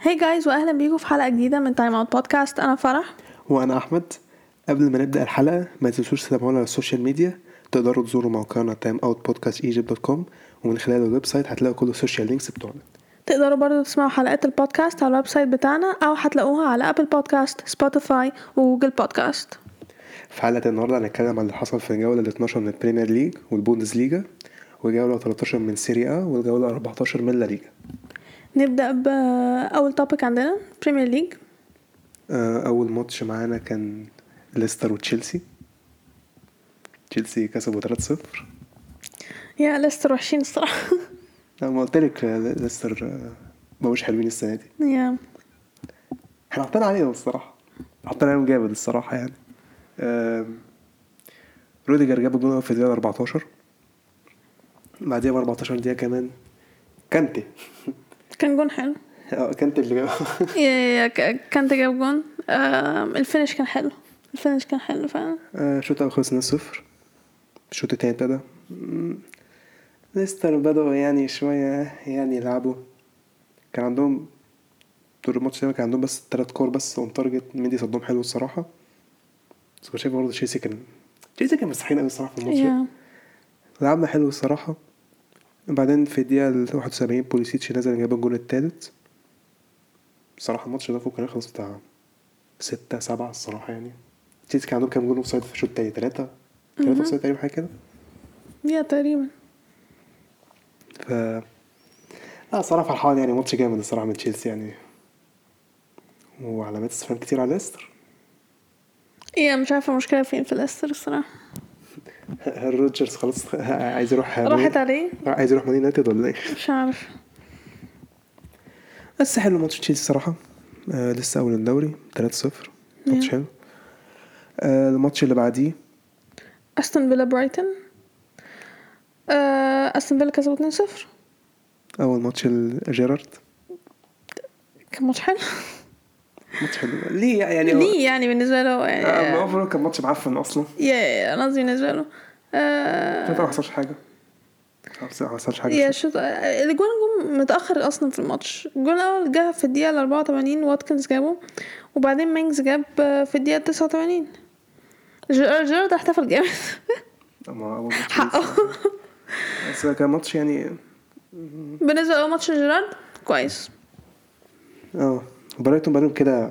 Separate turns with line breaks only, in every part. هاي hey جايز واهلا بيكم في حلقه جديده من تايم اوت بودكاست انا فرح
وانا احمد قبل ما نبدا الحلقه ما تنسوش تتابعونا على السوشيال ميديا تقدروا تزوروا موقعنا timeoutpodcastegypt.com ومن خلال الويب سايت هتلاقوا كل السوشيال لينكس بتوعنا
تقدروا برضو تسمعوا حلقات البودكاست على الويب سايت بتاعنا او هتلاقوها على ابل بودكاست سبوتيفاي وجوجل بودكاست
في حلقه النهارده هنتكلم عن اللي حصل في الجوله ال 12 من البريمير ليج والبوندس ليجا وجوله 13 من سيريا والجوله 14 من لا ليجا
نبدا باول توبيك عندنا بريمير ليج
آه، اول ماتش معانا كان ليستر وتشيلسي تشيلسي كسبوا 3-0
يا ليستر وحشين الصراحه
أنا ما قلت لك ليستر آه، ما مش حلوين السنه دي
يا
احنا حاطين عليهم الصراحه حاطين عليهم جامد الصراحه يعني آم، روديجر جاب الجون في الدقيقه 14 بعديها ب 14 دقيقه كمان كانتي
كان جون حلو
اه كانتي اللي جاب
يا يا كان جاب جون آم، الفينش كان حلو الفينش كان حلو فعلا
آه، شوط اول خلص 2-0 الشوط التاني ابتدى مم، ليستر بدأوا يعني شوية يعني يلعبوا كان عندهم طول الماتش ده كان عندهم بس تلات كور بس اون تارجت ميدي صدهم حلو الصراحة بس كنت شايف برضه تشيلسي كان تشيلسي كان مسرحين قوي الصراحة في الماتش ده.
يا
لعبنا حلو الصراحة بعدين في الدقيقة ال 71 بوليسيتش نزل جاب الجول التالت الصراحة الماتش ده فوق كان يخلص بتاع ستة سبعة الصراحة يعني تشيلسي كان عندهم كام جول اوف سايد في الشوط التاني تلاتة تلاتة اوف سايد تقريبا حاجة كده
يا تقريبا
ف لا الصراحة فرحان يعني ماتش جامد الصراحة من تشيلسي يعني وعلامات استفهام كتير على ليستر
يا مش عارفه المشكله فين في ليستر الصراحه
روجرز خلاص عايز يروح
راحت عليه
عايز يروح مان يونايتد ولا ايه؟
مش عارف
بس حلو ماتش تشيلسي الصراحة آه لسه أول الدوري 3-0 ماتش حلو آه الماتش اللي بعديه
استون فيلا برايتون آه، استون فيلا كسبوا 2-0
أول ماتش ال- جيرارد
كان ماتش حلو
ماتش حلو ليه يعني هو-
ليه يعني بالنسبه له
آه، ما
يعني
هو كان ماتش معفن أصلا
يا- يا انا قصدي بالنسبه له آه،
ما حصلش حاجة ما حصلش حاجة
يا شوط الجون جم متأخر أصلا في الماتش الجون الأول جه في الدقيقة الأربعة وتمانين واتكنز جابه وبعدين مينجز جاب في الدقيقة تسعة وتمانين آه، جيرارد احتفل جامد
ما أول ماتش
حقه
بس كان ماتش يعني
بالنسبة لأول ماتش جيرارد كويس
اه برايتون بقالهم كده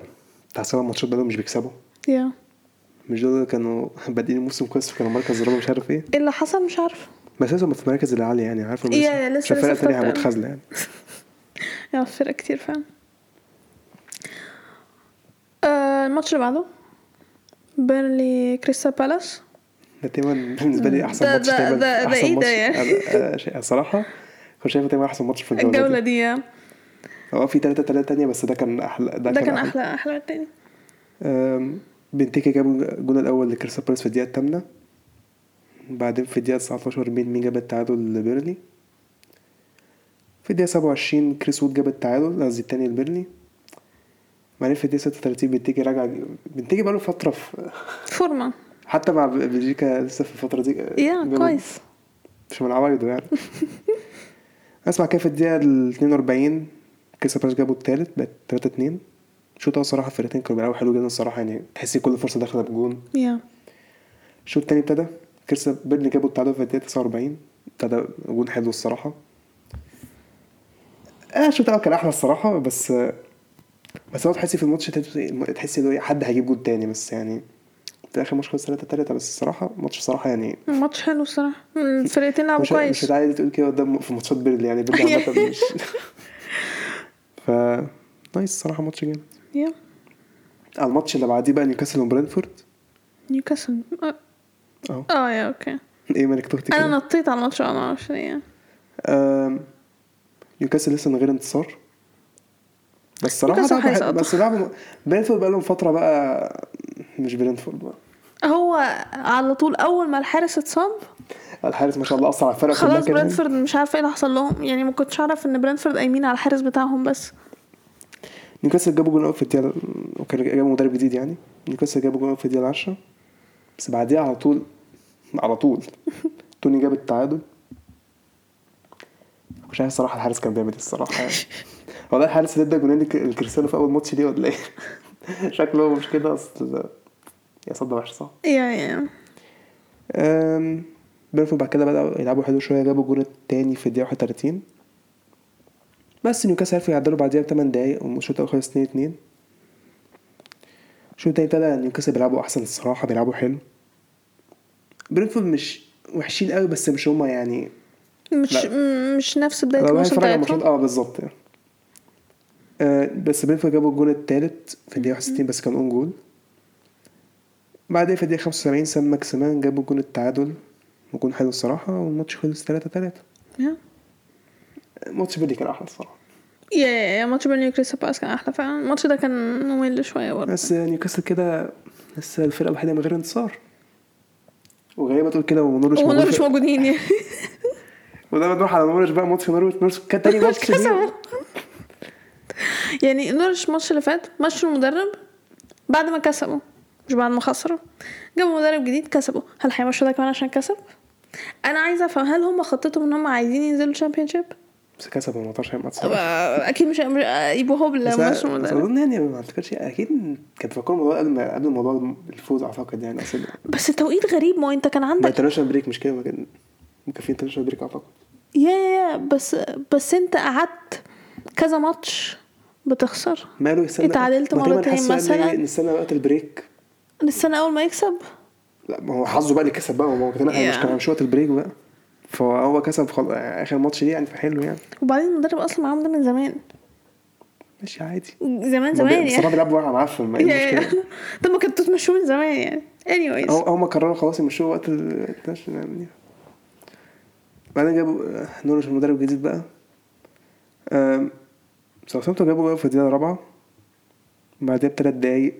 بتاع سبع ماتشات بقالهم مش بيكسبوا
يا
مش دول اللي كانوا بادئين الموسم كويس وكانوا مركز رابع مش عارف ايه
إيه اللي حصل مش عارفة
بس لسه هم في المراكز اللي عالية يعني عارف هم
يا- يا، لسه-
مش فرقة
لسه
تانية
فرقة.
متخاذلة يعني
يا فرق كتير فعلا آه، الماتش اللي بعده بيرلي كريستال بالاس
ده تقريبا بالنسبة لي أحسن
ده-
ماتش
ده-
تقريبا
ده- ده
أحسن
إيه ده
ماتش
يعني؟
أنا- أنا شا- صراحة كنت شايفه تقريبا أحسن ماتش في الجولة,
الجولة
دي
دي يا.
هو في تلاتة تلاتة تانية بس ده كان أحلى ده,
ده كان أحلى أحلى من التاني
أم، بنتيكا جاب الجون الأول لكريستال بالاس في الدقيقة التامنة بعدين في الدقيقة 19 مين مين جاب التعادل لبيرلي في الدقيقة 27 كريس وود جاب التعادل قصدي التاني لبيرلي بعدين في الدقيقة 36 بنتيكي راجع بنتيكي بقاله فترة في
فورمة
حتى مع بلجيكا لسه في الفترة دي
يا
جابوا-
كويس
مش من عوايده يعني اسمع كده في الدقيقة ال 42 كريستال بالاس جابوا التالت بقت 3 2 الشوط الاول الصراحة الفرقتين كانوا بيلعبوا حلو جدا الصراحة يعني تحس كل فرصة داخلة بجون
يا
الشوط التاني ابتدى كريستال بيرني جابوا التعادل في الدقيقة 49 ابتدى جون حلو الصراحة اه الشوط الاول كان احلى الصراحة بس بس هو تحسي في الماتش تحسي إن حد هيجيب جون تاني بس يعني في اخر ماتش خلص 3 3 بس الصراحة ماتش الصراحة يعني
ماتش حلو الصراحة الفرقتين لعبوا
مش مش
كويس
هتعادل تقول كده قدام في ماتشات بيرلي يعني بيرلي عامة مش ف نايس الصراحة ماتش جامد
يا
على الماتش اللي بعديه بقى نيوكاسل وبرنتفورد
نيوكاسل آه.
اهو
اه يا اوكي
ايه مالك تهتي
انا
كده
نطيت على الماتش انا معرفش ليه يعني.
آم، نيوكاسل لسه من غير انتصار بس صراحة
نيوكاسل
لعبوا حلو-
هيسقطوا.
بس لعبوا برنتفورد بقى لهم فترة بقى مش برنتفورد بقى
هو على طول اول ما الحارس اتصاب
الحارس ما شاء الله أثر على الفرقة كلها
خلاص
كده يعني.
برنتفورد مش عارفه ايه اللي حصل لهم يعني ما كنتش اعرف ان برنتفورد قايمين على الحارس بتاعهم بس
نيوكاسل جابوا جون أول في الدقيقة وكان جابوا مدرب جديد يعني نيوكاسل جابوا جون أول في الدقيقة 10 بس بعديها على طول على طول توني جاب التعادل مش عارف الصراحة الحارس كان بيعمل ايه الصراحة يعني. والله حارس ادى جونين لك- لكريستيانو في اول ماتش دي ولا ايه شكله مش كده اصل يا صد وحش صح
يا يا
أم، بيرفورد بعد كده بدأوا يلعبوا حلو شوية جابوا الجول التاني في الدقيقة 31 بس نيوكاسل عرفوا يعدلوا بعديها ب 8 دقايق والشوط الأول خلص 2 2 الشوط التاني ابتدى نيوكاسل بيلعبوا أحسن الصراحة بيلعبوا حلو برينفورد مش وحشين قوي بس مش هما يعني
مش
لا.
م- مش نفس بداية
لو
الموسم
هنتفرج على الماتشات
بتاعتهم
اه بالظبط يعني. آه بس برينفورد جابوا الجول التالت في الدقيقة 61 بس كان اون جول بعدها في الدقيقة 75 سام ماكسيمان جابوا جول التعادل وجول حلو الصراحة والماتش خلص 3 3
يا
ماتش بيرلي كان أحلى الصراحة
يا يا ماتش بيرني كريستال بالاس كان احلى فعلا الماتش ده كان ممل شوية برضه
بس نيوكاسل كده لسه الفرقة الوحيدة من غير انتصار وغريبة تقول كده ونورش
هو مش
موجود
موجودين يعني
وده بنروح على نورش بقى ماتش نورش نورش كان تاني
مش
ماتش ليه.
كسبوا يعني نورش الماتش اللي فات مشوا المدرب بعد ما كسبوا مش بعد ما خسروا جابوا مدرب جديد كسبوا هل هيمشوا ده كمان عشان كسب انا عايزه افهم هل هم خطتهم ان هم عايزين ينزلوا شيب
بس كسبوا 18 يا ماتش
اكيد مش مش- يبقوا هو اللي
بس
مشوا
بس
المدرب
اظن يعني ما اعتقدش اكيد كان فاكرين الموضوع قبل ما قبل موضوع الفوز اعتقد يعني اصل
بس التوقيت غريب ما هو انت كان
ده
عندك
انترناشونال بريك مش كده ممكن ممكن في انترناشونال بريك اعتقد
يا يا يا، بس بس انت قعدت كذا ماتش بتخسر
ماله يستنى
اتعادلت
ما تقريباً
مرتين
حاسه قال لي
مثلاً.
نستنى وقت البريك
السنه اول ما يكسب
لا ما هو حظه بقى اللي كسب بقى ما هو كان
Yeah.
مش كان مش وقت البريك بقى فهو كسب خلاص اخر ماتش ليه يعني فحلو يعني
وبعدين المدرب اصلا معاهم ده من زمان
ماشي عادي
زمان زمان
بس هما
يعني
بيلعبوا واحد معفن ما ايه
يا- يا.
المشكله
طب ما كنتوا تمشوه من زمان يعني anyways
هو هما قرروا خلاص يمشوا وقت ال 12 يعني بعدين جابوا آه، نورش المدرب الجديد بقى آم، ساوثهامبتون جابوا بقى في الدقيقة الرابعة بعدها بتلات دقايق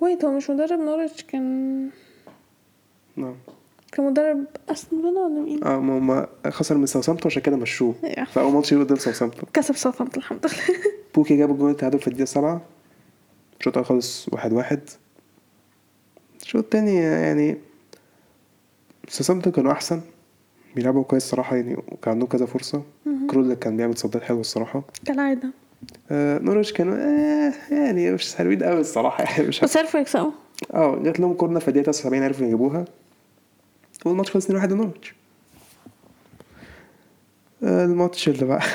ويت هو مش مدرب نورwich كان
نعم
كان مدرب استون فيلا ولا مين؟
اه ما هما خسر من ساوثهامبتون عشان كده مشوه
Yeah.
فأول ماتش ليه قدام ساوثهامبتون
كسب ساوثهامبتون الحمد لله
بوكي جاب الجول التعادل في الدقيقة السابعة الشوط الأول خلص واحد واحد الشوط التاني يعني ساوثهامبتون كانوا أحسن بيلعبوا كويس الصراحة يعني وكان عندهم كذا فرصة كرول كان بيعمل تصديات حلوة الصراحة
كالعاده
آه نورwich كانوا آه يعني مش حلوين قوي الصراحة يعني مش
بس عرفوا يكسبوا
اه جات لهم كورنر في الدقيقة 79 عرفوا يجيبوها والماتش خلص 2-1 لنورتش آه، الماتش اللي بقى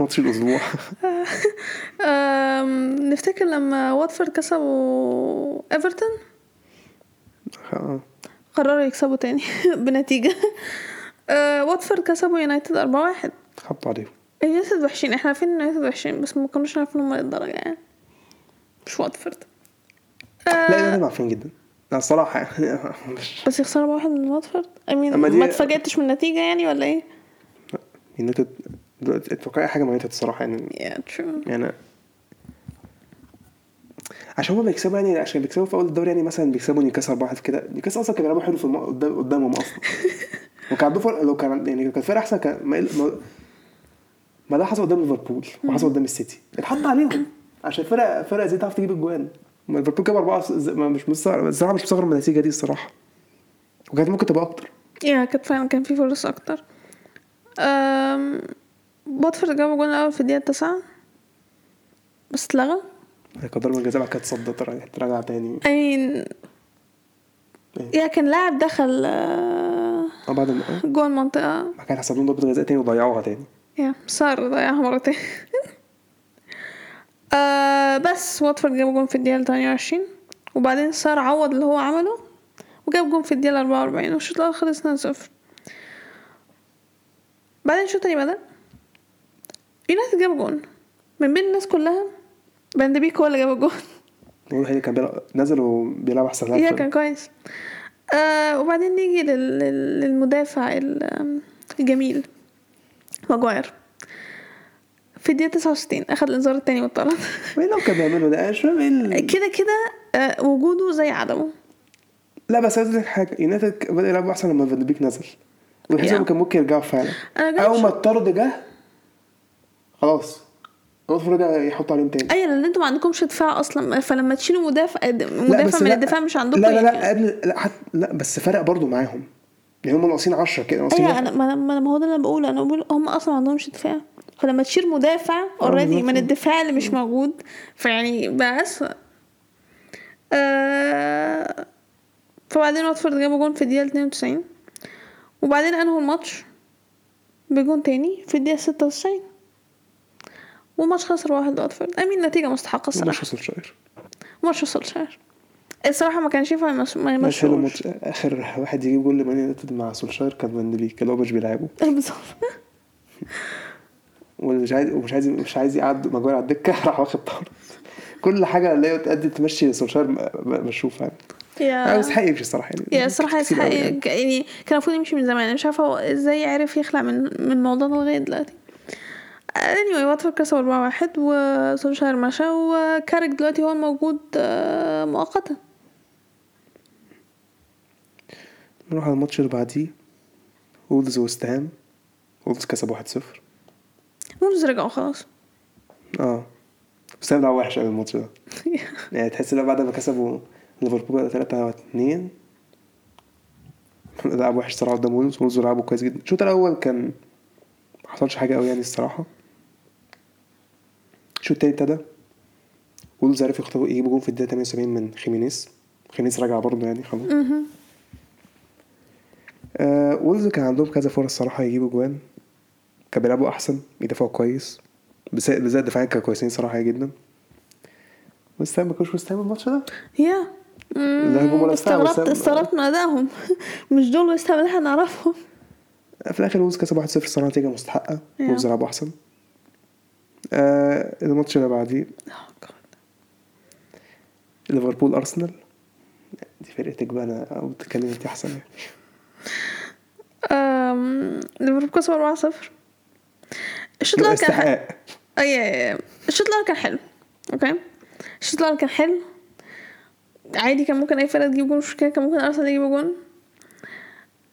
ماتش الأسبوع
أم، نفتكر لما واتفورد كسبوا ايفرتون
آه،
قرروا يكسبوا تاني بنتيجه أه، واتفورد كسبوا يونايتد 4-1
خبطوا عليهم
اليونايتد وحشين احنا عارفين ان اليونايتد وحشين بس ما كناش عارفين هم للدرجه يعني مش واتفورد آه،
لا لا لا عارفين جدا لا الصراحة يعني مش
بس يخسروا واحد من واتفورد I mean
أما دي-
ما اتفاجئتش من النتيجة يعني ولا ايه؟
يونايتد دلوقتي اتوقع أي يعني حاجة من يونايتد الصراحة يعني
yeah true
يعني عشان هما بيكسبوا يعني عشان بيكسبوا في اول الدوري يعني مثلا بيكسبوا نيوكاسل 4 كده نيوكاسل اصلا كانوا بيلعبوا حلو في الم... قدام قدامهم اصلا وكان عندهم فرق لو كان يعني لو كانت فرق احسن كان ما, ما... ما ده حصل قدام ليفربول وحصل قدام السيتي اتحط عليهم عشان فرق فرق زي تعرف تجيب اجوان ما ليفربول جاب اربعه ز- ما مش مستغرب الصراحه مش مستغرب من النتيجه دي الصراحه وكانت ممكن تبقى اكتر
يا كانت فعلا كان في فرص اكتر أم... واتفورد جابوا جول الاول في الدقيقة التاسعة بس اتلغى
كان ضربه جزاء يعني بعد كده اتصدت رجع- رجع تاني
I
إيه.
mean يا كان لاعب دخل آه،
اه بعد ما آه،
جوه المنطقة
بعد كده حسب لهم ضربه جزاء تاني وضيعوها تاني
يا صار ضيعها مرتين آه بس واتفورد جاب جون في الدقيقة 28 وبعدين صار عوض اللي هو عمله وجاب جون في الدقيقة 44 والشوط الأول خلص 2 0 بعدين الشوط التاني بدأ يونايتد جاب جون من بين الناس كلها فان دي بيك هو اللي جاب الجون
هو الوحيد اللي كان بيلعب نزل وبيلعب احسن لاعب
يا
في-
كان كويس آه وبعدين نيجي لل- لل- للمدافع ال- الجميل ماجواير في الدقيقة 69 أخد الإنذار التاني واتطرد
وايه لو كان بيعملوا ده انا مش فاهم ايه ال-
كده كده آه وجوده زي عدمه
لا بس عايز اقول لك حاجه يونايتد بدأ يلعبوا احسن لما فان بيك نزل والحساب
Yeah.
كان ممكن يرجعوا فعلا
أنا جاي
اول
مش-
ما الطرد جه خلاص رودفورد رجع يحط عليهم تاني
أي أيوة، لأن أنتوا ما عندكمش دفاع أصلا فلما تشيلوا مدافع
لا
مدافع
بس
من
لا
أيوة، الدفاع مش عندكم
لا لا
يعني.
لا قبل لا حت... لا بس فرق برضو معاهم يعني هم ناقصين 10 كده ناقصين
أيوة
واحد.
أنا ما أنا- ما أنا- ما هو ده اللي أنا بقوله أنا بقول هم أصلا ما عندهمش دفاع فلما تشيل مدافع اوريدي
بالظبط.
من الدفاع اللي مش موجود فيعني بقى اسوء آه فبعدين واتفورد جابوا جون في الدقيقة 92 وبعدين انهوا الماتش بجون تاني في الدقيقة 96 والماتش خسر واحد واتفورد امين نتيجة مستحقة
مش
الصراحة
سولشاير
ماتش سولشاير الصراحة ما كانش ينفع يمش- ما
بس هو
يمشوش
الماتش- اخر واحد يجيب جول لمان يونايتد مع سولشاير كان فان بيك اللي هو مش بيلعبه
بالظبط
ومش عايز ومش عايز مش عايز يقعد مجوار على الدكه راح واخد طار كل حاجه اللي هي تأدي تمشي سولشاير م- م- مشوف يعني
يا
أنا يستحق يمشي الصراحه يعني
آه. يا الصراحة
كتير
يستحق
أوي يعني.
ك- يعني كان المفروض يمشي من زمان أنا مش عارفة هو ازاي عرف يخلع من من الموضوع ده لغاية دلوقتي anyway واتفورد كسبوا 4 1 وسولشاير مشى وكارك دلوقتي هو الموجود آه، مؤقتا
نروح على الماتش اللي بعديه وولز وست هام وولز كسب 1-0
وولز رجعوا خلاص
اه وست هام لعب وحش قوي الماتش ده يعني تحس ان بعد ما كسبوا ليفربول 3 2 لعب وحش صراحه قدام وولز وولز لعبوا كويس جدا الشوط الاول كان ما حصلش حاجه قوي يعني الصراحه الشوط التاني ابتدى وولز عرف يخطفوا يجيبوا جول في الدقيقه 78 من خيمينيز خيمينيز راجع برضه يعني خلاص
مهم.
آه وولز كان عندهم كذا فرص صراحة يجيبوا جوان كانوا بيلعبوا أحسن بيدافعوا كويس بس- بالذات دفاعيا كانوا كويسين صراحة جدا وست هام ما كانوش وست هام الماتش ده
يا مم،
لا هجوم ولا دفاع، بس
استغربت
هم-
استغربت من ادائهم مش دول وست هام اللي احنا نعرفهم
في الآخر وولز كسب 1-0 صراحة نتيجة مستحقة
Yeah.
وولز لعبوا أحسن آه الماتش اللي بعديه
Oh God.
ليفربول أرسنال دي فرقتك بقى أنا أو بتتكلم أنت أحسن يعني
أم، ليفربول كسبوا 4 0 الشوط الاول كان حلو.
استحقاق
اه يا- يا- الشوط الاول كان حلو اوكي الشوط الاول كان حلو عادي كان ممكن اي فرقه تجيب جون مش مشكله كان ممكن ارسنال يجيب جون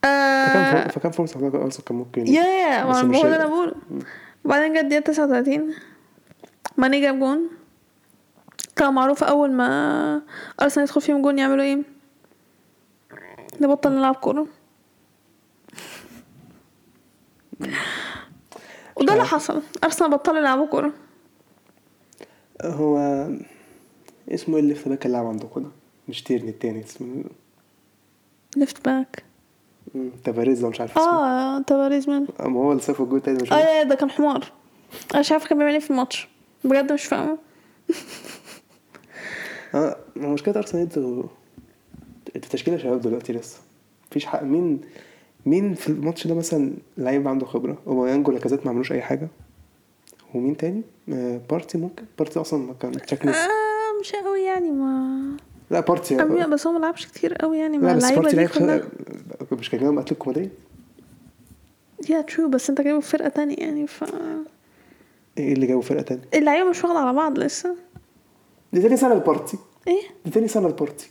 فكان فر-
آه
فكان فرصة على أرسنال كان ممكن
يا يا ما
بس
أنا
مش-
بقول اللي انا بقوله وبعدين جت دقيقه 39 ماني جاب جون كان معروف اول ما ارسنال يدخل فيهم جون يعملوا ايه نبطل نلعب كوره وده اللي حصل ارسنال بطلوا يلعبوا كوره
هو اسمه ايه الليفت باك اللي لعب عندكم ده مش تيرني التاني اسمه
ليفت باك
مم، تباريز ده مش عارف اسمه
اه تباريز ماله
ما هو اللي صفر الجول التاني ده مش
اه
هو.
لا، ده كان حمار انا مش عارفه كان بيعمل ايه في الماتش بجد مش فاهمه
اه ما هو مشكلة ارسنال انتوا انتوا تشكيلة شباب دلوقتي لسه مفيش حق مين مين في الماتش ده مثلا لعيب عنده خبرة اوباميانج ولاكازيت ما عملوش أي حاجة ومين تاني؟ آه بارتي ممكن بارتي أصلا ما كان شكله
آه مش قوي يعني ما
لا بارتي
أمي-
لا
بس هو ما لعبش كتير قوي يعني مع
بس
اللعيبه
بارتي
دي
لعيب
كلها
خ- مش كان جايبهم أتلتيكو مدريد
يا ترو بس انت جايبه في فرقه تانية يعني ف
ايه اللي جابه فرقة تانية؟
اللعيبه مش واخده على بعض لسه
دي تاني سنة لبارتي
ايه
دي تاني سنة لبارتي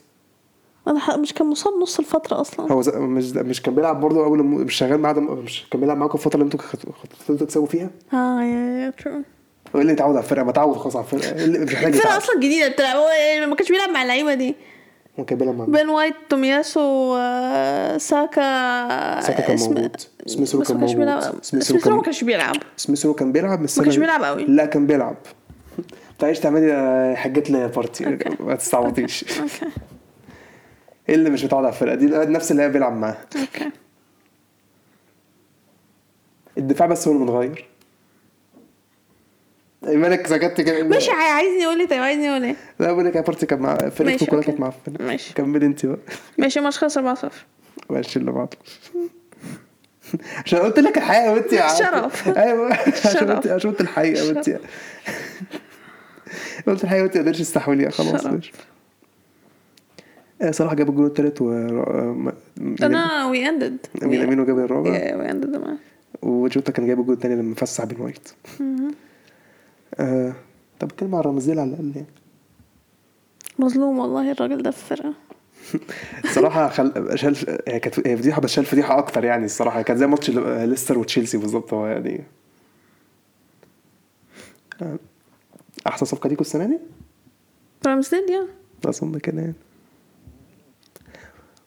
انا ح- مش كان مصاب نص الفتره اصلا
هو ز- مش مش كان بيلعب برضه اول ما- مش شغال معاه ده- مش كان بيلعب معاكم الفتره اللي انتوا خط- خططتوا تكسبوا فيها
اه يا يا ترو
هو ايه اللي يتعود على الفرقه ما تعود خلاص على الفرقه إيه اللي مش محتاج
الفرقه
يتعود
اصلا جديده بتلعب هو يعني ما كانش بيلعب مع اللعيبه دي
هو كان بيلعب مع مين؟
بين وايت تومياسو آه، ساكا
ساكا كان
اسم-
موجود. سميث رو
بس ما
كان
كانش
موجود.
بيلعب
سميث
سميث
رو
رو ما
كان-
كانش بيلعب
سميث رو كان بيلعب بس
ما كانش
أنا-
بيلعب قوي.
لا كان بيلعب تعيش تعملي آه، حاجات لي بارتي
أوكي.
ما تستعبطيش
اوكي
ايه اللي مش متعود على الفرقه دي نفس اللي هي بيلعب معاها
اوكي
الدفاع بس هو اللي متغير إيه، مالك سكت كده
ماشي عاي- عايزني اقول ايه طيب عايزني اقول ايه
لا بقول لك يا بارتي كان مع فرقتكم
ماشي،
كلها
أوكي.
كانت مع فرقة.
ماشي.
كملي انت بقى
ماشي ماتش خلص 4 0
معلش اللي بعده عشان قلت لك الحقيقه وانت يا عم.
شرف.
ايوه عشان قلت
شرف.
عشان قلت الحقيقه وانت
شرف.
قلت الحقيقه وانت ما قدرتش تستحمليها خلاص
شرف.
ماشي آه، صلاح جاب الجول التالت و آه، م- مين-
انا وي اندد
مين امينو جاب الرابع
وي اندد معاه
وجوتا كان جايب الجول التاني لما فسح بين وايت آه، طب اتكلم عن رمزيل على الاقل يعني
مظلوم والله الراجل ده في الفرقه
الصراحه خل... شال هي كانت هي فضيحه بس شال فضيحه اكتر يعني الصراحه كان زي ماتش ل- ليستر وتشيلسي بالظبط هو يعني احسن صفقه ليكوا السنه دي
رمزديل يا
اظن كده يعني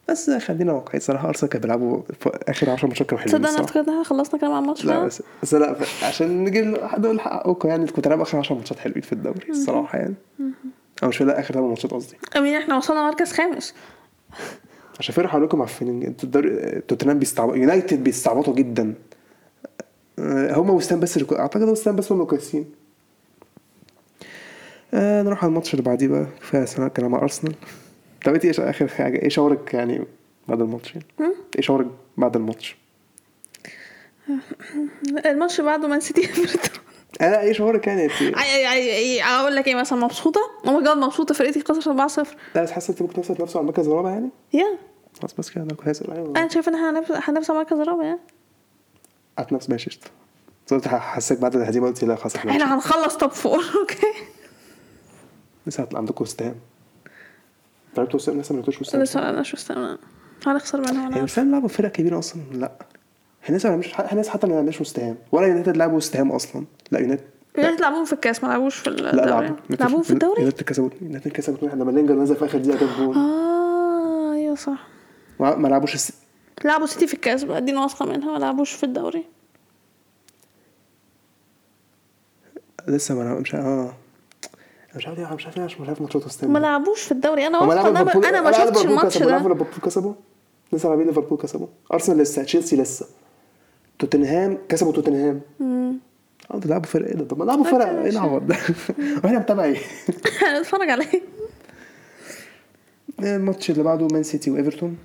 بس خلينا واقعي صراحه ارسنال كانوا بيلعبوا في اخر 10 ماتشات كانوا حلوين
تصدق انا
الصراحة.
افتكرت ان احنا خلصنا كلام على الماتش
لا
ده
بس بس لا ف- عشان نجي لحد اقول حقكم يعني كنت بتلعبوا اخر 10 ماتشات حلوين في الدوري الصراحه يعني او مش لا اخر 8 ماتشات قصدي
امين احنا وصلنا مركز خامس
عشان فرق حواليكم معفنين انتوا الدوري توتنهام بيستعبطوا يونايتد بيستعبطوا جدا آه، هما وستام بس اللي كو- اعتقد وستام بس هم اللي كويسين آه نروح على الماتش اللي بعديه بقى كفايه سنه كلام على ارسنال طب انت ايش اخر حاجه ايه شعورك يعني بعد الماتش يعني؟ ايه شعورك بعد الماتش
الماتش اللي بعده مان سيتي ايفرتون
انا ايه شعورك يعني انت
عي- عي- عي- عي- اقول لك ايه مثلا مبسوطه او ماي جاد مبسوطه فرقتي خسرت 4-0
لا بس حاسه انت ممكن توصل نفسه على المركز الرابع يعني
يا
خلاص بس كده انا كنت هسال ايوه
انا شايفه ان احنا هنفس- هنفس على المركز الرابع يعني
هتنافس ماشي قشطة. بس قلت حاسسك بعد الهزيمه قلت لا خلاص احنا ماشي.
احنا هنخلص توب فور اوكي
لسه هتبقى عندكم وستام لعبتوا وستام لسه ما لعبتوش وستام
لسه انا شو استنى هنخسر منها
هي
ولا
وسام لعبوا فرقه كبيره اصلا لا احنا لسه ما لعبناش احنا لسه حتى ما لعبناش وستهام ولا يونايتد لعبوا وستهام اصلا لا يونايتد
يعني لعبوهم في الكاس ما لعبوش في
لا
الدوري
لعبوا
لعبوهم في الدوري آه.
يونايتد كسبوا يونايتد كسبوا اتنين، لما لينجر نزل في اخر دقيقه جاب جول
اه ايوه صح
وع- ما لعبوش الس...
لعبوا سيتي في الكاس بقى دي أنا واثقه منها ما لعبوش في الدوري
لسه ما لعب- مش عارف- اه أنا مش عارف ليه- مش عارف ليه عشان مش عارف ماتشات وستهام
ما لعبوش في الدوري انا
هم
واثقه
لعبوا
إن انا
ليفربول-
انا ما
لعبوا
شفتش
ليفربول
الماتش
كسبوا، لعبوا
ده
ليفربول كسبوا لسه لاعبين ليفربول كسبوا ارسنال لسه تشيلسي لسه توتنهام كسبوا توتنهام اه ده لعبوا فرق ايه ده طب ما لعبوا فرق ايه العوض ده واحنا متابع ايه
هنتفرج عليه
الماتش آه، اللي بعده مان سيتي إيه، وايفرتون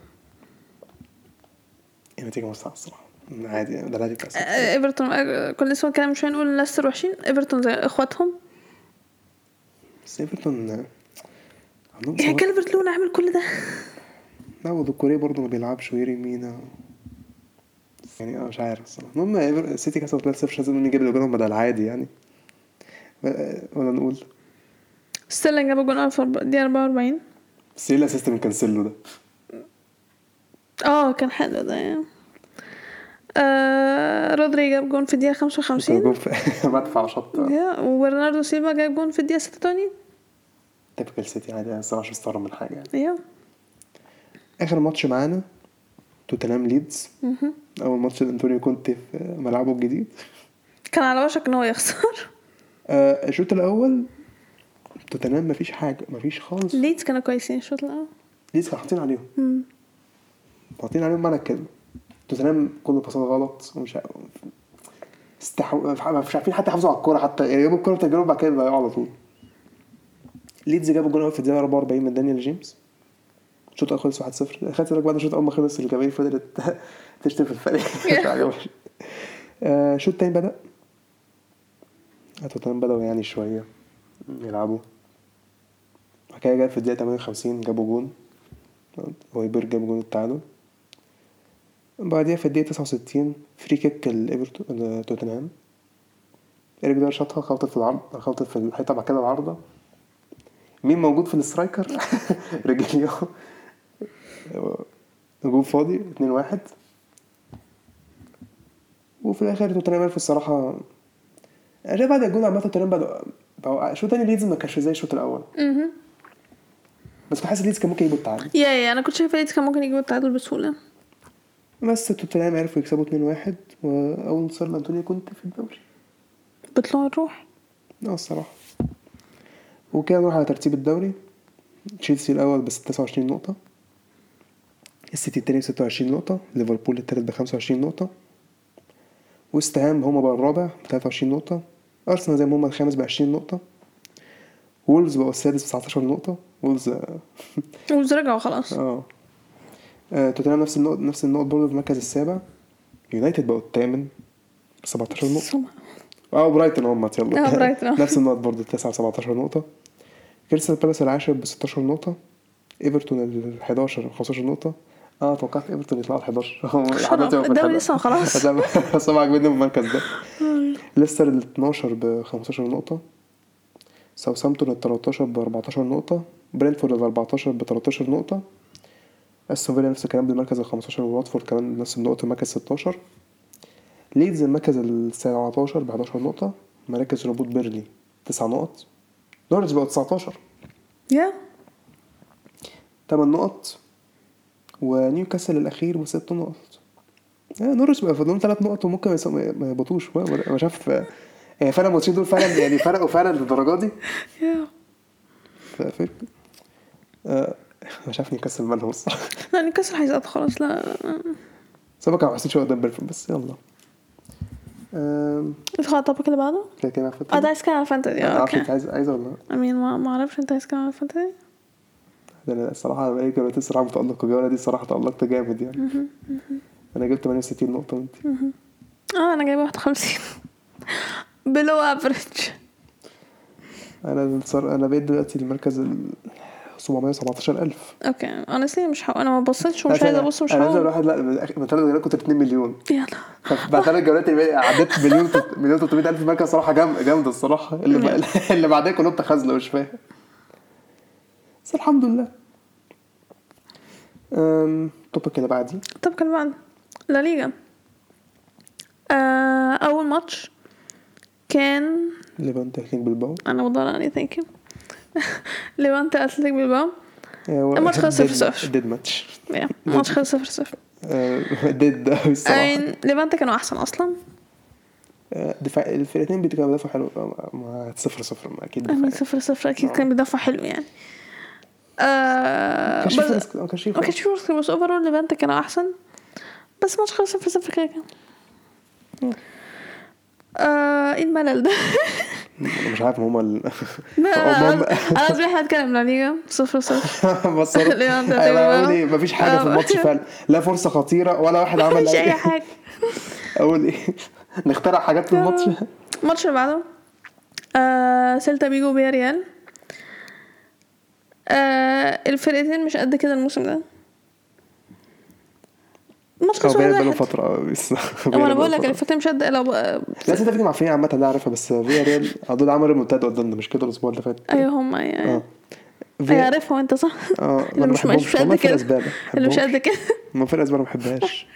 النتيجه مصعبه الصراحه عادي يعني ده العادي بتاع السيتي.
آه، ايفرتون آه، كنا لسه كلام شويه نقول ليستر وحشين ايفرتون زي اخواتهم
بس ايفرتون آه، عندهم
يا
إصابات.
كالفرت لون عامل كل ده
لا وذكوري برضه ما بيلعبش ويري مينا يعني انا مش عارف الصراحه المهم إيفر- السيتي كسبت 3 0 مش لازم نجيب الجول بدل العادي يعني آه، ولا نقول
ستيرلينج جاب جون في دقيقه 44
بس ايه الاسيست من كانسيلو ده
اه كان حلو ده يعني آه رودري جاب جون في الدقيقه 55
جون في- مدفع شط
يا، وبرناردو سيلفا جاب جون في الدقيقه 86
تيبكال سيتي عادي انا الصراحه مش مستغرب من حاجه يعني
يا
اخر ماتش معانا توتنهام ليدز اول ماتش لانتونيو كونتي في ملعبه الجديد
كان على وشك ان هو يخسر
آه، الشوط الاول توتنهام مفيش حاجه مفيش خالص
ليدز كانوا كويسين الشوط الاول
ليدز كانوا حاطين عليهم حاطين عليهم معنى الكلمه توتنهام كل الباصات غلط ومش عارف- استحو... مش عارفين حتى يحافظوا على الكوره حتى يعني جابوا الكوره بتجربه بعد كده ضيعوا على طول ليدز جابوا جول أول في الدقيقه 44 من دانيال جيمس الشوط الاول خلص 1-0 خدت بالك بعد الشوط اول ما خلص الجماهير فضلت تشتم في الفريق مش عاجبهاش. آه، الشوط التاني بدا توتنهام بدأوا يعني شوية يلعبوا حكاية جت في الدقيقة 58 جابوا جون هويبير جاب جون التعادل بعديها في الدقيقة 69 فري كيك لإيفرتون لتوتنهام إيريك داير شاطها خبطت في العرض خبطت في الحيطة بعد كده العارضة مين موجود في السترايكر؟ رجليو جون فاضي 2-1 وفي الآخر توتنهام عرفوا الصراحة انا شايف بعد الجون عامه التمرين بدأ بقوا شو تاني ليدز ما كانش زي الشوط الاول
مهم.
بس كنت حاسس ليدز كان ممكن يجيبوا التعادل
يا يا انا كنت شايفه ليدز كان ممكن يجيبوا التعادل بسهوله
بس توتنهام عرفوا يكسبوا 2-1 واول انتصار لانتونيو كنت في الدوري
بطلوع الروح
اه الصراحه وكده نروح على ترتيب الدوري تشيلسي الاول بس 29 نقطه السيتي التاني ب 26 نقطة ليفربول التالت ب 25 نقطة وست هام هما بقى الرابع ب 23 نقطة أرسنال زي ما هما الخامس ب 20 نقطة وولفز بقوا السادس ب 19 نقطة وولفز آه،
وولز رجعوا خلاص
اه آه، توتنهام نفس النقط نفس النقط برضه في المركز السابع يونايتد بقوا الثامن ب 17 نقطة
سمع.
اه برايتون هم يلا
آه، برايتون، آه.
نفس النقط برضه 9 ب 17 نقطة كريستال بالاس العاشر ب 16 نقطة ايفرتون ال 11 ب 15 نقطة اه توقعت ايفرتون يطلعوا ال 11
خلاص، الدوري لسه ما خلاص.
بس هم عاجبني المركز ده ليستر ال 12 ب 15 نقطة ساوثهامبتون ال 13 ب 14 نقطة برينفورد ال 14 ب 13 نقطة استون فيلا نفس الكلام بالمركز ال 15 وواتفورد كمان نفس النقط المركز 16 ليدز المركز ال 17 ب 11 نقطة مراكز ربوط بيرلي 9 نقط نورتش بقوا 19
يا
8 نقط ونيوكاسل الأخير بست نقط آه، نورwich بقى فاضلهم تلات نقط وممكن ما يص- ما ما يهبطوش ما- ما ما شاف يعني فعلا الماتشين دول فعلا يعني فرقوا فعلا للدرجة دي
يا.
فاهم مش عارف آه، نيوكاسل مالهم الصراحة
لا نيوكاسل هيسقط خلاص لا
سبق على حسين شوية قدام بيرفورد بس يلا آم،
ادخل على التوبيك اللي بعده
كده كده
اه ده
فاتت
عايز كان على فانتزي اه
عارف
اوكي
انت عايز عايزه ولا لا؟
امين ما ما اعرفش انت عايز كان على فانتزي
ده انا الصراحه بقالي جولتين الصراحه متالقه الجوله دي الصراحه تالقت جامد يعني انا جبت 68 نقطه وانت
اه انا جايبه 51 بلو افريج
انا الصر... انا بقيت دلوقتي المركز ال 717000
اوكي اونستلي مش حق... انا ما بصيتش ومش
أنا-
عايزه ابص ومش
انا نزل
هقول
واحد لا من آخر- من ثلاث جولات كنت 2 مليون
يلا
فبعد ثلاث جولات اللي بقى عديت مليون تلت- مليون 300 الف مركز صراحه جام- جامده الصراحه اللي بقى... اللي بعدها كلهم تخاذله مش فاهم بس الحمد لله أم... توبك اللي بعدي
طب كان بعد لا ليجا آه اول ماتش كان يعني،
ليفانتي هيكين بالباو
انا بدور عليه ثانك يو ليفانتي اتلتيك بالباو
أه،
الماتش خلص صفر صفر.
ديد ماتش
يا، ماتش خلص 0 0
أه، ديد قوي الصراحه
اين ليفانتي كانوا احسن اصلا
آه، دفاع الفرقتين بيتكلموا دفاع حلو آه، ما صفر صفر ما اكيد
امين
دفاع
صفر صفر اكيد كان بيدافع حلو يعني آه
كانش
بس-
في فرص- ما كانش في
ما
فرص.
كانش في فرص بس اوفرول ليفانتي كانوا احسن بس ماتش خلص صفر صفر كده كده آه ايه الملل ده
أنا مش عارف هما ال
ما
هما-
انا اصبح هتكلم لا ليجا صفر صفر
بصوا
ليه أنت بتعمل
اقول ايه
معاهم؟
مفيش حاجه في
آه.
الماتش فعلا لا فرصه خطيره ولا واحد عمل
مش اي
اي
حاجه
اقول ايه نخترع حاجات في الماتش
الماتش اللي بعده آه سيلتا بيجو وبيا ريال آه الفرقتين مش قد كده الموسم ده الماتش
او
خلص
بقى
واحد
بقاله
واحد
فتره قوي بس
هو انا بقول لك الفرقتين مش قد لو بقى-
لا سيتا فيديو معفيه عامه ده عارفها بس فيا ريال آه، دول عملوا منتدى قدامنا مش كده الاسبوع اللي فات
ايوه هما
اه
يعني
فيا-
عارفها انت صح
اه ما
اللي
انا
مش مش
بحبهمش
قد
والله في
كده
الاسباب
اللي مش قد كده
ما فرقه اسباب ما بحبهاش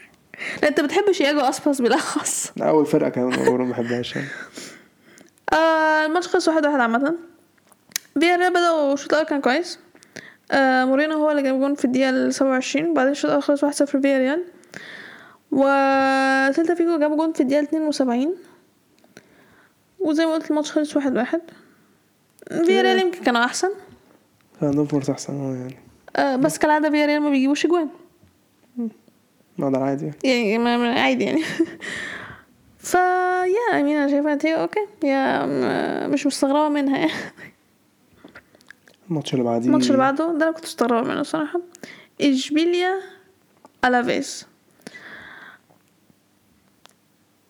لا انت بتحب شياجو اسباس بالاخص
أنا اول فرقه كمان عمري ما بحبهاش يعني
آه الماتش خلص واحد واحد عامة فيا ريال بدأوا الشوط الأول كان كويس آه مورينو هو اللي جاب جون في الدقيقة ال 27 بعدين الشوط الأول خلص واحد صفر فيا ريال و سيلتا فيجو جاب جون في الدقيقة 72 وزي ما قلت الماتش خلص واحد واحد فيا ريال يمكن كانوا أحسن
عندهم فرصه احسن اه يعني
آه بس كالعادة فيا ريال ما بيجيبوش أجوان
ما ده عادي يعني
يعني ما- ما- عادي يعني فا يا أمين أنا شايفة نتيجة أوكي يا م- مش مستغربة منها يعني
الماتش اللي بعديه
الماتش اللي بعده ده انا كنت مستغربه منه الصراحه اشبيليا الافيز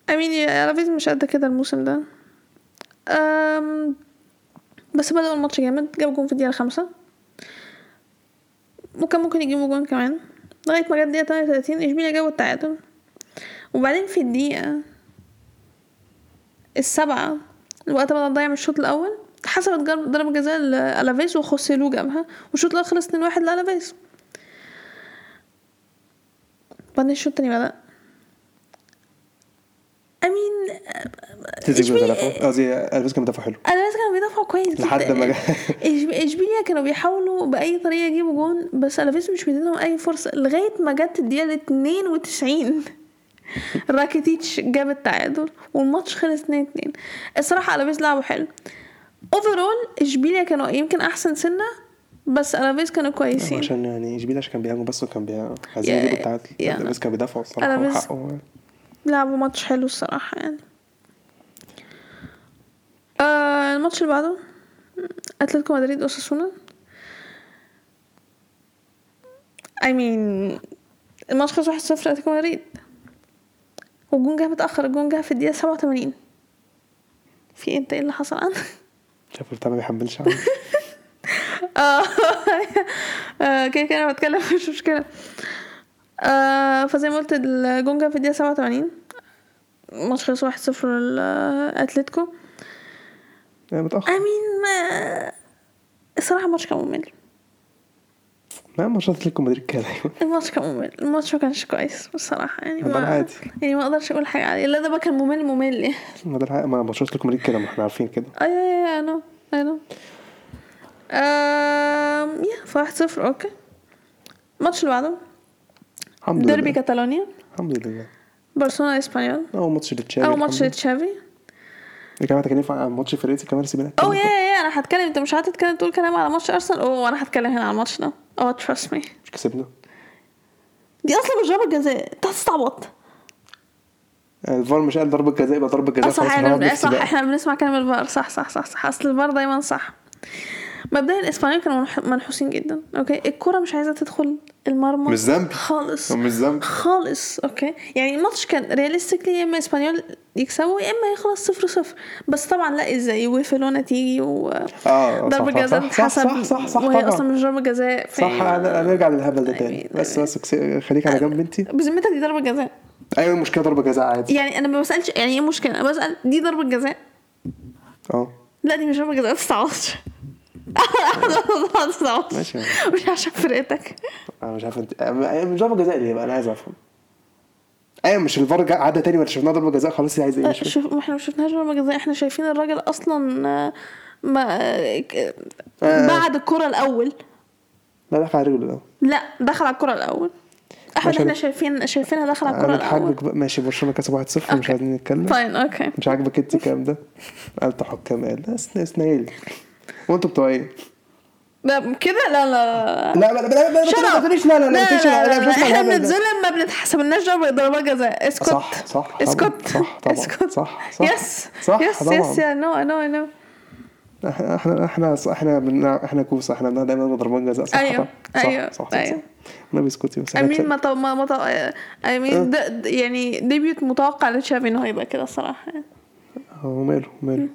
امين يا الافيز مش قد كده الموسم ده أم بس بدأوا الماتش جامد جابوا جون في الدقيقة الخامسة وكان ممكن يجيبوا جون كمان لغاية ما جت الدقيقة 38 اشبيليا جابوا التعادل وبعدين في الدقيقة السبعة وقت ما ضيع من الشوط الأول اتحسبت جر- ضربة جزاء لألافيس وخوسيلو جابها والشوط الأول خلص 2-1 لألافيس بعدين الشوط التاني بدأ أمين
تيزي
إشبيليا-
بيدافع قصدي الفيس كان بيدافع حلو
ألافيس كانوا بيدافعوا كويس
لحد
جدا.
ما جا-
إش- اشبيليا كانوا بيحاولوا باي طريقه يجيبوا جون بس الافيس مش بيديلهم اي فرصه لغايه ما جت الدقيقه 92 راكيتيتش جاب التعادل والماتش خلص 2 2 الصراحه الافيس لعبوا حلو اوفرول اشبيليا كانوا يمكن احسن سنه بس الافيس كانوا
آه،
كويسين
عشان يعني اشبيل عشان كان بيهاجم بس وكان بي- عايزين
يا-
يجيبوا التعادل
يا.
الفيس كان بيدافع الصراحه
أنا بس-
وحقه
لعبوا ماتش حلو الصراحه يعني آه الماتش اللي بعده اتلتيكو مدريد اوساسونا I mean الماتش خلص 1-0 اتلتيكو مدريد والجون جه متأخر الجون جه في الدقيقة 87 في إيه؟ انت ايه اللي حصل عندك؟
شايف بتاع ما بيحملش عنه
اه آه، كده كده انا بتكلم مش مشكلة آه فزي ما قلت الجون جه في الدقيقة 87 الماتش خلص 1-0 لأتلتيكو
يعني متاخر
امين ما الصراحه الماتش كان ممل
ما ماتشات لكم مدريد كده دايما
الماتش كان ممل الماتش ما كانش كويس بصراحه يعني
ده
ما
عادي.
يعني ما اقدرش اقول حاجه عليه لا ده بقى كان ممل ممل يعني
ما ده الحقيقة، ما ماتشات لكم مدريد كده ما احنا عارفين كده
اي اي اي انا انا امم يا فواحد صفر اوكي الماتش اللي بعده
الحمد
ديربي
لله
كاتالونيا
الحمد لله
برشلونه اسبانيول
اول ماتش
او
لتشافي الحمد
ماتش
لله.
تشافي
يا جماعه اتكلم عن ماتش فرقتي كمان سيبنا
او يا يا انا هتكلم انت مش هتتكلم تقول كلام على ماتش ارسنال اوه انا هتكلم هنا على الماتش ده اه تراست مي
مش كسبنا
دي اصلا مش ضربه جزاء انت هتستعبط
الفار آه، مش قال ضربه جزاء يبقى ضربه جزاء
صح
خلاص
احنا
هنلعب
بن...
نفسي
صح
بقى.
احنا بنسمع كلام الفار صح صح صح صح اصل الفار دايما صح مبدئيا الاسبانيول كانوا منح- منحوسين جدا اوكي الكره مش عايزه تدخل المرمى
مش ذنبي.
خالص
هو مش ذنب
خالص اوكي يعني الماتش كان رياليستيكلي يا اما اسبانيول يكسبوا يا اما يخلص صفر صفر بس طبعا لا ازاي وفلونا تيجي
آه،
وضربه
صح، صح،
جزاء
صح،
اتحسب
صح، صح، صح،
وهي
طبعا.
اصلا مش ضربه جزاء
صح أنا- هنرجع للهبل ده
I
تاني
mean-
بس بس كس- خليك على جنب انتي
بذمتك دي ضربه جزاء
ايوه المشكله ضربه جزاء عادي
يعني انا ما بسالش يعني ايه المشكله انا بسال دي ضربه جزاء إيه؟
اه
لا دي مش ضربه جزاء ما تستعوضش ما تستعوضش
ماشي يا
مش عشان فرقتك
انا مش عارف انت أنا مش ضربه جزاء ليه بقى انا عايز افهم ايوه مش الفار جا- عدى تاني ولا شفناها ضربه جزاء خلاص هي عايز ايه مش فاهم.
شوف ما احنا ما شفناش ضربه جزاء احنا شايفين الراجل اصلا آه، ما آه، ك-
آه.
بعد الكره الاول
لا إيه؟ دخل على رجله ده
لا دخل على الكره الاول احمد
ماشي.
احنا شايفين شايفينها دخل على الكره
انا
الاول
بحاجبك بقى ماشي برشلونه كسب 1-0 مش
أوكي.
عايزين نتكلم
فاين اوكي
مش عاجبك انت الكلام ده قالت حكام قال لا اسنا اسنا ايه وانتوا بتوع ايه؟
لا كده لا لا
لا لا لا لا لا
Shut
ما
up.
تقوليش لا لا لا ما تقوليش لا لا مش هسمع
احنا
الهبل ده.
بنتظلم ما بنتحسبلناش ضربة ضربة جزاء اسكت
صح، صح، طبعاً.
اسكت
صح، طبعاً.
اسكت
صح، صح.
يس
صح،
يس
طبعاً.
يس يا نو نو نو
احنا احنا احنا احنا بنلعب- احنا كوسه احنا بنلعب دايما ضربان جزاء صح
أيوة،
طبعاً. صح
أيوة،
صح صح
أيوة.
ما بيسكتي بس
I
احنا
mean
كسبنا.
ما طو... ما ما طو... I mean ده ده- يعني ديبيوت متوقع لتشافي انه هيبقى كده الصراحة
هو ماله ماله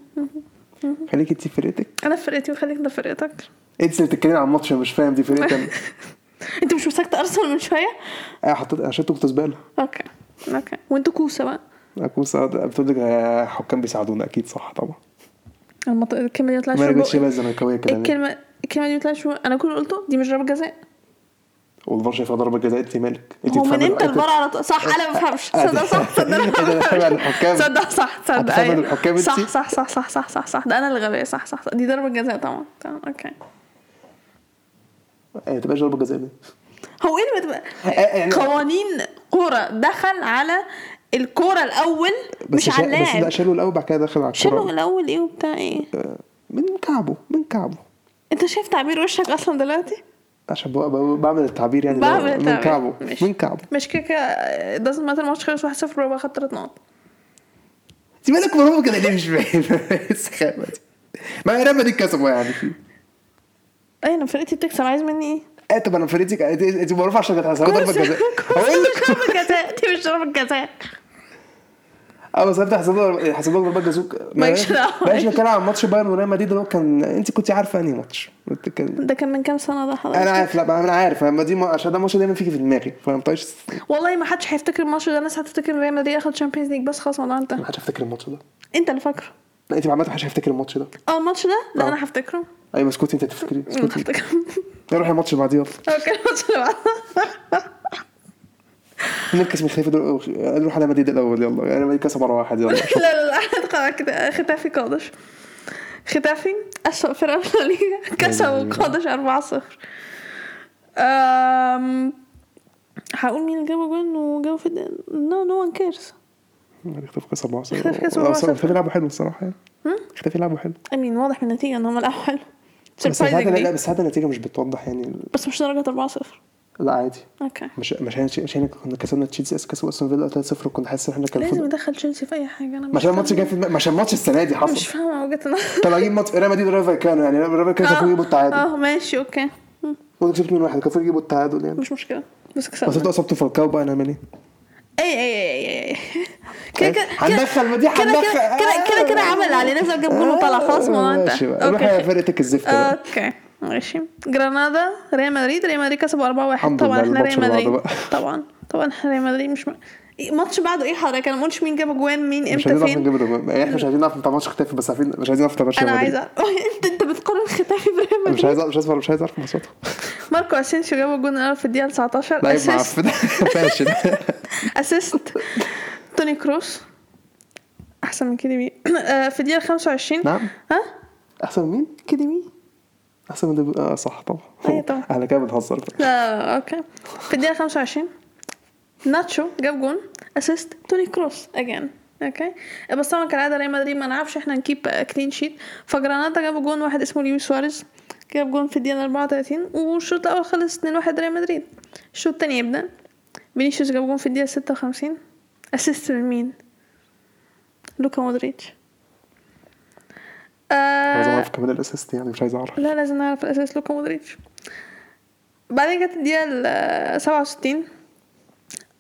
خليك انت في فرقتك
انا في فرقتي وخليك انت في فرقتك
انت اللي بتتكلمي عن الماتش أنا مش فاهم دي فرقتك أنا.
انت مش مسكت ارسنال من شوية
انا حطيت انا شلته كنت زباله
اوكي اوكي وانتوا كوسة بقى
انا كوسه بتقول لك آه، حكام بيساعدونا اكيد صح طبعا
المط... الكلمة دي ما طلعتش
ما
من
رجعتش
بقي.
شبه الزملكاويه كده يعني.
الكلمة الكلمة دي ما طلعتش من- انا كل اللي قلته دي مش ضربة جزاء
والفار شايفها ضربه جزاء انت مالك انت
هو من
بتفهمي-
امتى
أنت-
الفار على طول صح انا ما بفهمش صدق صح صدق انا ما
أنت بتفهم عن الحكام.
بفهمش صدق صح صدق
بتفهم عن الحكام
أيوة.
أنت؟
صح صح صح صح صح صح صح ده انا اللي غبيه صح صح صح. دي ضربه جزاء طبعا طبعا اوكي
آه، ما تبقاش ضربه جزاء ليه؟
هو ايه اللي بتبقى
آه، يعني-
قوانين كوره دخل على الكوره الاول
بس
مش على
شا- بس لا
اللاعب
شالوا الاول بعد كده دخل على
شنو
الكوره
الاول ايه وبتاع ايه
آه، من كعبه من كعبه
انت شايف تعبير وشك اصلا دلوقتي
عشان بقى- بقى- بعمل التعبير يعني ده
بعمل
من
التعبير.
كعبه
ماشي.
من كعبه
مش كده كده doesn't matter الماتش خلص 1-0 بابا خد ثلاث نقط
انت مالك مرمى كده ليه مش فاهم السخافه دي ما هي رمى دي كسبوا يعني
اي انا أيوة، فرقتي بتكسب عايز مني ايه
اه طب انا فرقتي كانت- انت معروفه عشان كانت هتحسبها ضربه جزاء هقول لك
ضربة جزاء دي مش ضربة جزاء
اه بس انت حسبها حسبها ضربه جزاء
مالكش دعوة.
بلاش نتكلم عن ماتش بايرن وريال مدريد اللي هو كان انت كنت عارفه انهي ماتش انت كان-
ده كان من كام سنة ده
انا
حضرتك
عارف لا ما انا عارف اما دي ما- عشان ده ماتش دايما فيكي في دماغي طيب. فما بطيقش
والله ما حدش هيفتكر الماتش ده الناس هتفتكر ريال مدريد اخد شامبيونز ليج بس خلاص الموضوع انتهى
ما حدش هيفتكر الماتش ده
انت اللي فاكره
لا انت عامه محدش هيفتكر الماتش ده
اه الماتش ده لا
آه.
انا هفتكره
ايوه اسكتي انت تفتكري
انا
اسكتي
هفتكره
نروح الماتش اللي بعديه يلا
اوكي الماتش اللي بعده
نركز من خليفه دول نروح على مدريد الاول يلا يعني ريال مدريد كسب 4-1 يلا
لا لا لا هندخل على كده ختافي قادش ختافي أسوأ فرقة في الليجا كسبوا قادش 4-0 أم، هقول مين اللي جابوا جون وجابوا في نو نو وان كيرز
اختفى كسب 4
اختفى كسب 4-0.
اختفى لعبه حلو الصراحه يعني اختفى لعبه حلو
امين واضح من النتيجة ان هم لعبوا حلو
بس ساعات لا
Surprisingly.
بس ساعات النتيجه مش بتوضح يعني ال-
بس مش درجة 4-0
لا عادي
اوكي
مش مش هن- مش هن- كنا كسبنا تشيلسي اس كسبوا استون فيلا 3-0 وكنت حاسس ان احنا كان
لازم
المفروض-
يدخل تشيلسي في اي حاجة انا
ما
مش
عشان الماتش
فاهمة-
جاي في دماغي- ما عشان الماتش السنه دي
مش
حصل
فاهمة وجهة النظر
طب اجيب ماتش ريال مدريد وريال فايكانو يعني ريال مدريد
آه.
كان المفروض يجيبوا التعادل
اه ماشي اوكي مم،
وانتوا كسبتوا من واحد كان المفروض يجيبوا التعادل يعني
مش مشكلة بس
بس
كسبنا
انتوا اصبتوا فالكاو بقى هنعمل ايه؟
اي اي اي اي اي كده كده
إيه؟ هندخل ودي
كده
هندخل
كده كده كده كده عمل علينا زي ما جاب جول وطلع خلاص الموضوع انتهى
آه. ماشي بقى روح يا فرقتك
آه.
الزفت بقى
اوكي ماشي جرانادا ريال مدريد ريال مدريد كسبوا 4 1
الحمد
طبعا احنا
لله، الماتش
ريال
اللي
مدريد
بعده بقى.
طبعا طبعا احنا ريال مدريد مش م... إيه، ماتش بعده ايه حضرتك انا ما قلتش مين جاب اجوان مين
مش
امتى
عايزين نعرف
فين
نجيب رجل يعني احنا مش عايزين نعرف بتاع ماتش اختفي بس عارفين مش عايزين نعرف بتاع ماتش
انا
ريال مدريد.
عايزه انت انت بتقارن ختافي بريال مدريد
مش عايز مش عايز مش عايز اعرف مصوته
ماركو اسينسيو جاب الجون الاول في الدقيقه 19
لعيب
اسيست
معفن فاشل
اسيست توني كروس احسن من كده بيه آه، في الدقيقه 25
نعم
ها
احسن من مين؟
كده بيه
احسن من دب... اه صح طبعا
أيوة طبعا. آه،
احنا كده بنهزر بقى.
لا لا، لا، اوكي في الدقيقة 25 ناتشو جاب جون اسيست توني كروس اجان اوكي بس طبعا كالعاده ريال مدريد ما نعرفش احنا نكيب كلين شيت فجراناتا جابوا جون واحد اسمه ليويس سواريز جاب جون في الدقيقه 34 والشوط الاول خلص 2 1 ريال مدريد الشوط التاني يبدا فينيسيوس جاب جون في الدقيقه 56 اسيست لمين لوكا مودريتش
عايز
آه
اعرف كمان الاسيست يعني مش عايز اعرف
لا لازم نعرف الاساس لوكا مودريتش بعدين جت الدقيقه ال 67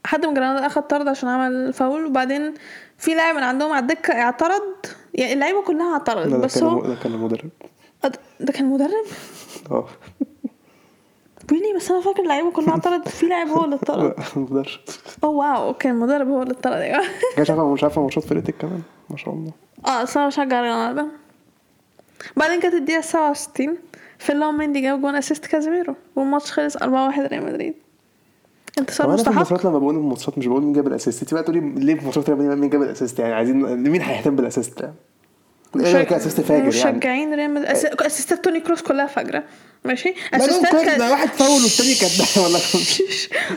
حد من جرانادا اخد طرد عشان عمل فاول وبعدين في لاعب من عندهم على الدكه اعترض يعني اللعيبه كلها
لا، ده
اعترضت بس
كان
هو
الم- ده كان المدرب
أد- ده كان مدرب
اه
بيلي بس انا فاكر اللعيبه كلها اعترضت في لاعب هو اللي اتطرد
المدرب
اوه واو كان المدرب هو اللي اتطرد ايوه
مش عارفه مش عارفه ماتشات فرقتك كمان ما شاء الله
اه اصل انا بشجع جرانادا بعدين كانت الدقيقه 67 فيلاو مندي جاب جون اسيست كازيميرو والماتش خلص 4-1 ريال مدريد انتصار
طب انا في
مستحق
الماتشات لما بقول الماتشات مش بقول مين جاب الاسيست انت بقى تقولي ليه في ماتشات ريال مدريد مين جاب الاسيست يعني عايزين مين هيهتم بالاسيست يعني مش كان اسيست فاجر يعني
مشجعين ريال مدريد أس- اسيستات توني كروس كلها فجره ماشي
بعدين
اسيستات
كويس، ده واحد فاول والتاني كان ده والله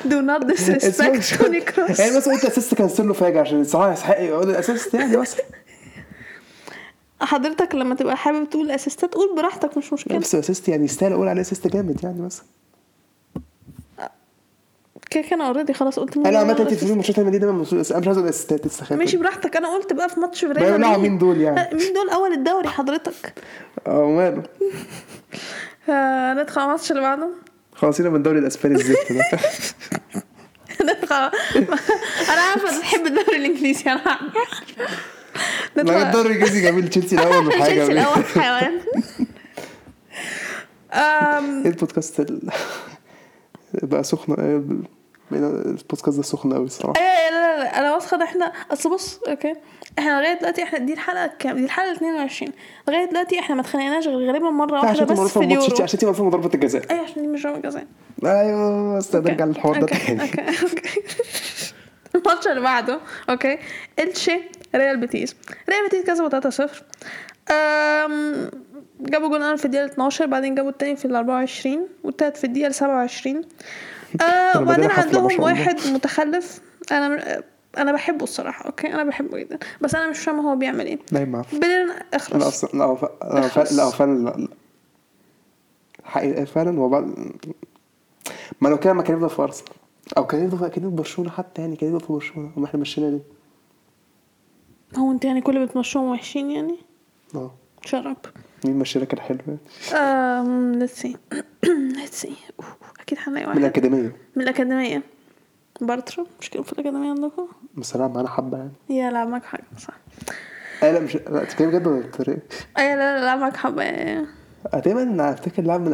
دو نوت ديسريسبكت توني كروس
يعني بس قلت اسيست كان سيرلو فاجر عشان الصراحه يستحق يقول الاسيست يعني بس
حضرتك لما تبقى حابب تقول اسيستات قول براحتك مش مشكله
بس اسيست يعني يستاهل اقول عليه اسيست جامد يعني بس
كده كان اوريدي خلاص قلت مين
انا عامه
اللي
انت
عمل
في ماتشات ريال مدريد دايما مسؤول- انا مش عايز اقول اسيستات تستخدم
ماشي براحتك انا قلت بقى في ماتش ريال
بيولعوا
مدريد
مين دول يعني؟
آه، مين دول اول الدوري حضرتك
اه وماله
آه، ندخل على الماتش اللي بعده
خلصينا من الدوري الاسباني الزفت ده
ندخل على- انا عارفه إنك بتحب الدوري الانجليزي انا عارفة. ندخل
لا
على-
الدوري الانجليزي جميل تشيلسي الاول ولا حاجه
تشيلسي الاول حيوان آم،
ايه البودكاست ال... بقى سخن آه، بقينا البودكاست ده سخن قوي الصراحه
إيه، لا لا لا انا واثقه ان احنا اصل بص اوكي احنا لغايه دلوقتي احنا دي الحلقه كام دي الحلقه 22 لغايه دلوقتي احنا ما اتخانقناش غير غالبا مره واحده
عشان تبقى
أيوة، بس
معروفه
في اليورو
بماتش- عشان تبقى معروفه بضربه الجزاء
ايوه عشان دي مش رقم جزاء
ايوه بس نرجع للحوار ده تاني
اوكي اوكي الماتش اللي بعده اوكي الشي ريال بيتيس ريال بيتيس كسبوا 3-0 أم، جابوا جول اول في الدقيقه 12 بعدين جابوا التاني في ال 24 والتالت في الدقيقه 27 آه
لما
وبعدين
جينا حفلة، ما
عندهم
شاء الله.
واحد متخلف انا انا بحبه الصراحه اوكي انا بحبه جدا بس انا مش فاهمه هو بيعمل ايه
نايم معفن
بلين
انا
اخرس
اصلا لا ف... لا ف... لا فعلا لا لا. حقيقة فعلا هو بعد ما لو كده ما كان يفضل في ارسنال او كان يفضل في- كان يفضل في برشلونه حتى يعني كان يفضل في برشلونه وما احنا مشينا ليه؟
هو انت يعني كل اللي بتمشوهم وحشين يعني
اه
شرب
مين مشينا كان حلو يعني
ليتس سي ليتس سي اكيد هنلاقي
من
واحد
الاكاديميه
من الاكاديميه بارترو مش كده في الاكاديميه عندكم
بصراحه معانا حبه يعني
يا لا معاك حاجه صح
انا لا مش لا تتكلم بجد ولا إيه؟ بتتريق؟
اي لا لا لا معاك حبه
تقريبا انا افتكر لعب من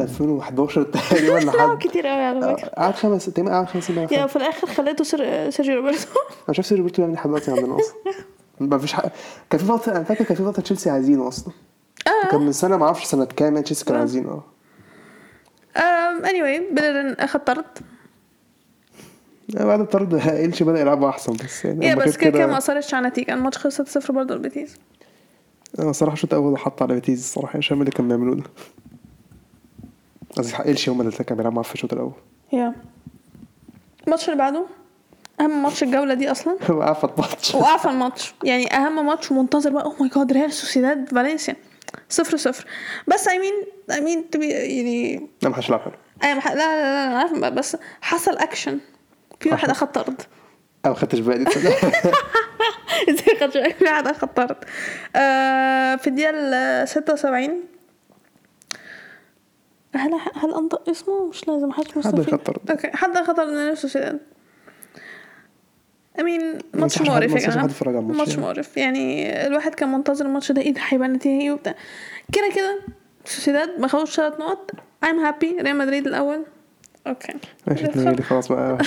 2011 تقريبا
لا
لحد
كتير قوي على فكره
قعد خمس تقريبا قعد خمس سنين بيلعب
يا
خمس.
في الاخر خليته سر... سيرجيو روبرتو
انا مش عارف سيرجيو روبرتو بيعمل إيه لحد دلوقتي عندنا اصلا ما فيش حق كان في فتره انا فاكر كان في فتره تشيلسي عايزينه اصلا كان من سنه ما اعرفش سنه كام يعني تشيلسي كان
آه.
عايزينه اه
ام anyway بيلرين اخد طرد
آه، بعد الطرد إلشي بدأ يلعبوا أحسن بس يعني
يا
أما
بس
كانت
كده كده ما اثرتش على النتيجه الماتش خلص 6-0 برضه البيتيز
أنا الصراحة الشوط الأول حط على بيتيز الصراحة مش فاهم اللي كانوا بيعملوه ده قصدي إلشي هم اللي كانوا بيلعبوا معاه في الشوط الأول
يا الماتش اللي بعده اهم ماتش الجوله دي اصلا
هو قعد في الماتش
وقف الماتش يعني اهم ماتش منتظر بقى اوه ماي جاد ريال سوسيداد فالنسيا صفر صفر بس اي مين اي مين تبي يعني
لا ما حدش لعب حلو
اي مح... لا لا لا انا عارفه بس حصل اكشن في واحد اخد طرد
أنا ما خدتش بالي تصدق.
ازاي خدش بالك؟ في واحد اخد طرد آه في الدقيقه ال 76 هل هل انطق اسمه مش لازم محدش مستفيد
أخد طرد.
اوكي حد اخد طرد من سوسيداد امين ماتش
ينصحش حد-
مقرف
ما
يا
ينصحش
جماعه
حد يتفرج على الماتش
ماتش
يعني.
مقرف يعني الواحد كان منتظر الماتش ده ايه ده هيبقى النتيجه ايه وبتاع كده كده سوسيداد ما خدوش ثلاث نقط ايم هابي ريال مدريد الاول اوكي
ماشي اتنين
ندخل
غيري خلاص بقى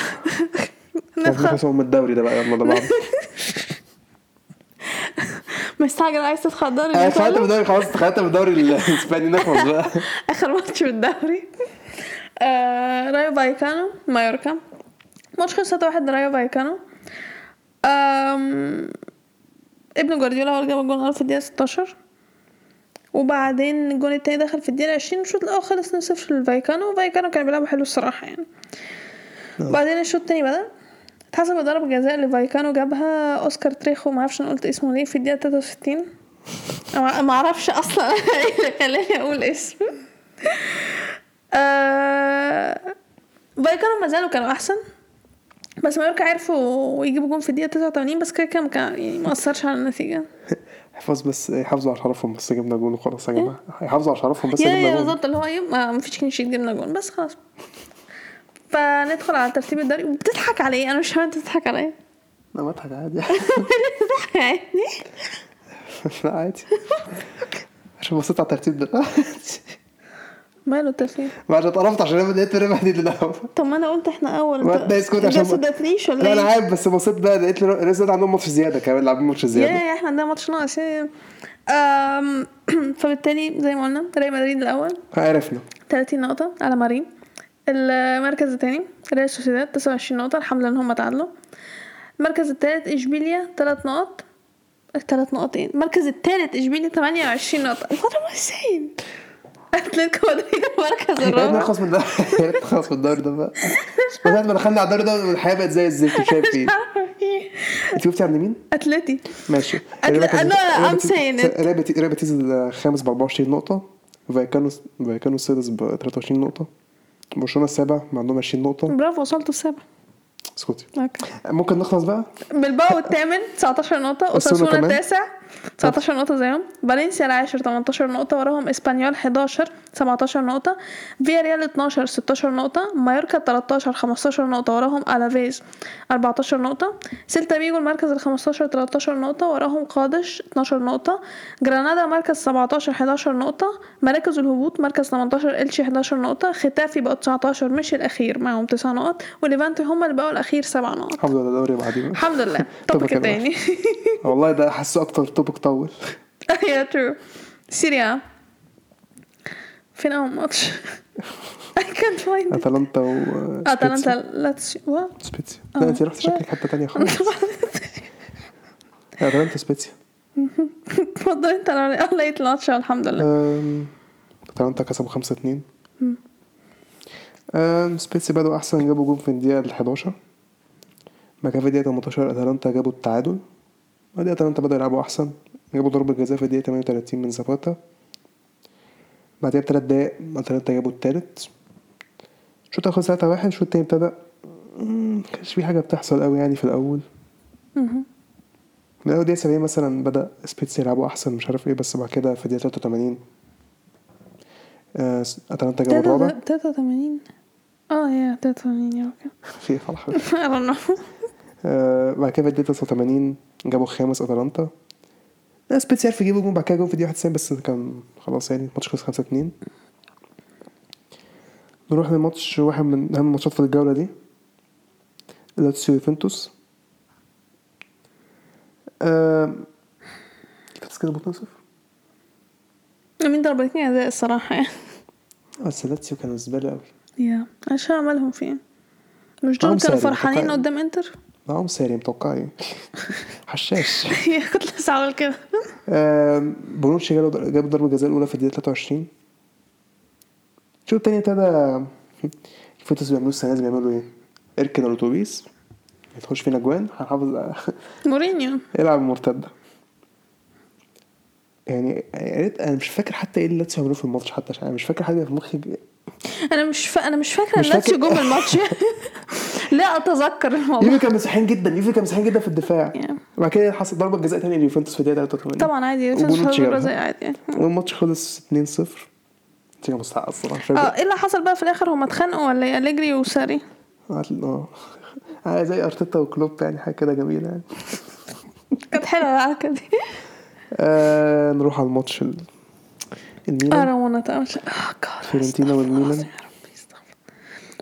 لازم
ندخل
نخلصهم من الدوري ده بقى يلا ده بعض
مستعجل عايز تدخل الدوري
أنا
الإيطالي؟
اتخانقت من الدوري خلاص اتخانقت من الدوري الإسباني نخلص بقى
اخر ماتش في الدوري آه رايو فايكانو مايوركا ماتش خلص 3-1 رايو فايكانو آم، ابن جوارديولا هو اللي جاب الجون الاول في الدقيقه 16 وبعدين الجون التاني دخل في الدقيقه 20 الشوط الاول خلص 2-0 للفايكانو وفايكانو كان بيلعبوا حلو الصراحه يعني بعدين الشوط التاني بدأ اتحسب ضربة جزاء لفايكانو جابها اوسكار تريخو معرفش انا قلت اسمه ليه في الدقيقة 63 أنا معرفش اصلا ايه اللي خلاني اقول اسمه آه، فايكانو ما زالوا كانوا احسن بس مايوركا عرفوا يجيبوا جون في الدقيقة 89 بس كده كده ما كان- يعني ما اثرش على النتيجة
احفظ بس يحافظوا على شرفهم بس جبنا جون وخلاص يا جماعه يحافظوا على شرفهم بس
يا يا
جبنا جون
بالظبط اللي هو ايه ما ما فيش كلين شيت جبنا جون بس خلاص فندخل على ترتيب الدوري بتضحك على ايه انا مش فاهمه انت بتضحك على ايه
انا بضحك عادي
يعني
لا عادي عشان بصيت على الترتيب ده
ماله الترتيب
بعد اتقرفت عشان انا لقيت ربح دي الاول
طب ما انا قلت احنا اول
ما ده اسكت عشان
ما صدقتنيش
لا انا
ولا ايه
عارف بس بصيت بقى لقيت الناس دول عندهم ماتش زياده كمان لاعبين ماتش زياده
يا احنا عندنا ماتش ناقص يا- أم، فبالتالي زي ما قلنا ريال مدريد الاول
عرفنا
30 نقطة على مارين المركز الثاني ريال سوسيداد 29 نقطة الحمد لله ان هم تعادلوا المركز الثالث اشبيليا 3 نقط 3 نقط ايه المركز الثالث اشبيليا 28 نقطة وات ام سين اتلتيكو مدريد المركز
احنا
الرابع
خلاص من الدوري عرفت خلاص من الدوري ده بقى من ساعة ما دخلنا على الدوري ده الحياه بقت زي الزفت شايف ايه
إيه.
انت شفتي عند مين؟
اتلتي
ماشي
أنا- I'm saying it.
ريبتيز الخامس ب 24 نقطة فايكانو فايكانو السادس ب 23 نقطة برشلونة السابع ما عندهم 20 نقطة
برافو وصلتوا السابع
اسكتي
اوكي
ممكن نخلص بقى
بالباو الثامن 19 نقطة
أوساسونا
أوساسونا
كمان.
التاسع 19 نقطة زيهم فالنسيا العاشر 18 نقطة وراهم اسبانيول 11 17 نقطة فياريال 12 16 نقطة مايوركا 13 15 نقطة وراهم الافيز 14 نقطة سيلتا بيجو المركز ال 15 13 نقطة وراهم قادش 12 نقطة جرانادا مركز 17 11 نقطة مراكز الهبوط مركز 18 إلشي 11 نقطة ختافي بقوا 19 مش الأخير معاهم 9 نقط وليفانتي هم اللي بقوا الأخير 7 نقط
الحمد لله الدوري بعدين
الحمد لله
توبك
توبك
الواحد.
التاني
والله ده حاسه اكتر توبك طول
آه، يا ترو سيريا فين اول ماتش؟ I can't find it آه،
اتلانتا و
اتلانتا لاتسيو what?
سبيتسيا لا انت رحت شكلك حتة تانية خالص اتلانتا سبيتسيا
اتفضل انت انا أنا لقيت الماتش الحمد
آه،
لله
أم، اتلانتا كسبوا 5 2 أم، سبيتسي بدأوا احسن جابوا جون في الدقيقة ال 11 مكافي الدقيقة 18 اتلانتا جابوا التعادل بعدها اتلانتا بدأوا يلعبوا احسن جابوا ضربة جزاء في الدقيقة 38 من زاباتا بعدها بثلاث دقايق اتلانتا جابوا التالت الشوط الأول خلص 3 1 الشوط التاني ابتدى مم، مكانش في حاجة بتحصل قوي يعني في الأول
مهم.
من أول دقيقة 70 مثلا بدأ سبيتسي يلعبوا أحسن مش عارف إيه بس بعد كده في الدقيقة 83 آه، أتلانتا جابوا الرابع
83 اه يا 83 يا اوكي
في إيه فرحة
I don't know
آه، بعد كده في الدقيقة 89 جابوا الخامس أتلانتا لا سبيتسي عرف يجيبوا جون بعد كده جون في الدقيقة 91 بس كان خلاص يعني الماتش خلص 5 2 نروح لماتش واحد من أهم الماتشات في الجولة دي لاتسيو يوفنتوس آه، يوفنتوس كسبوا 2 0
مين ضربتني ازاي الصراحه يعني
بس لاتسيو كانوا زبالة أوي
يا عشان عملهم فين مش
معاهم
دول كانوا
ساري،
فرحانين
متوقع-
قدام انتر
معاهم ساري متوقعي حشاش
يا كنت لسه عامل كده
آم، بونوتشي جاله- جاب ضربة الجزاء الأولى في الدقيقة 23 الشوط التاني ابتدى الفوتوس بيعملوا السنة دي بيعملوا إيه؟ اركن الأتوبيس هتخش فينا أجوان هنحافظ
مورينيو
العب مرتدة يعني يا ريت انا مش فاكر حتى ايه اللي لاتسيو عملوه في الماتش حتى عشان انا مش فاكر حاجه في مخي
انا مش فا... انا مش فاكره
مش
ان لاتسيو
فاكر.
جم الماتش لا اتذكر الموضوع
يوفي كان مسيحيين جدا يوفي كان مسيحيين جدا في الدفاع
Yeah.
وبعد كده حصل ضربه جزاء تانية ليوفنتوس في الدقيقه 83
طبعا عادي في
وبونوتشي
الفرق
جابها.
زي عادي يعني.
والماتش خلص 2-0 نتيجة مستحقة الصراحة مش
اه
فاكر
ايه اللي حصل بقى في الاخر هم اتخانقوا ولا ايه اليجري وساري
عادل- اه آه، زي ارتيتا وكلوب يعني حاجة كده جميلة يعني
كانت حلوه العركه دي
آه نروح على الماتش ال-
اه
الميلان
رونا اه جاد
فيورنتينا والميلان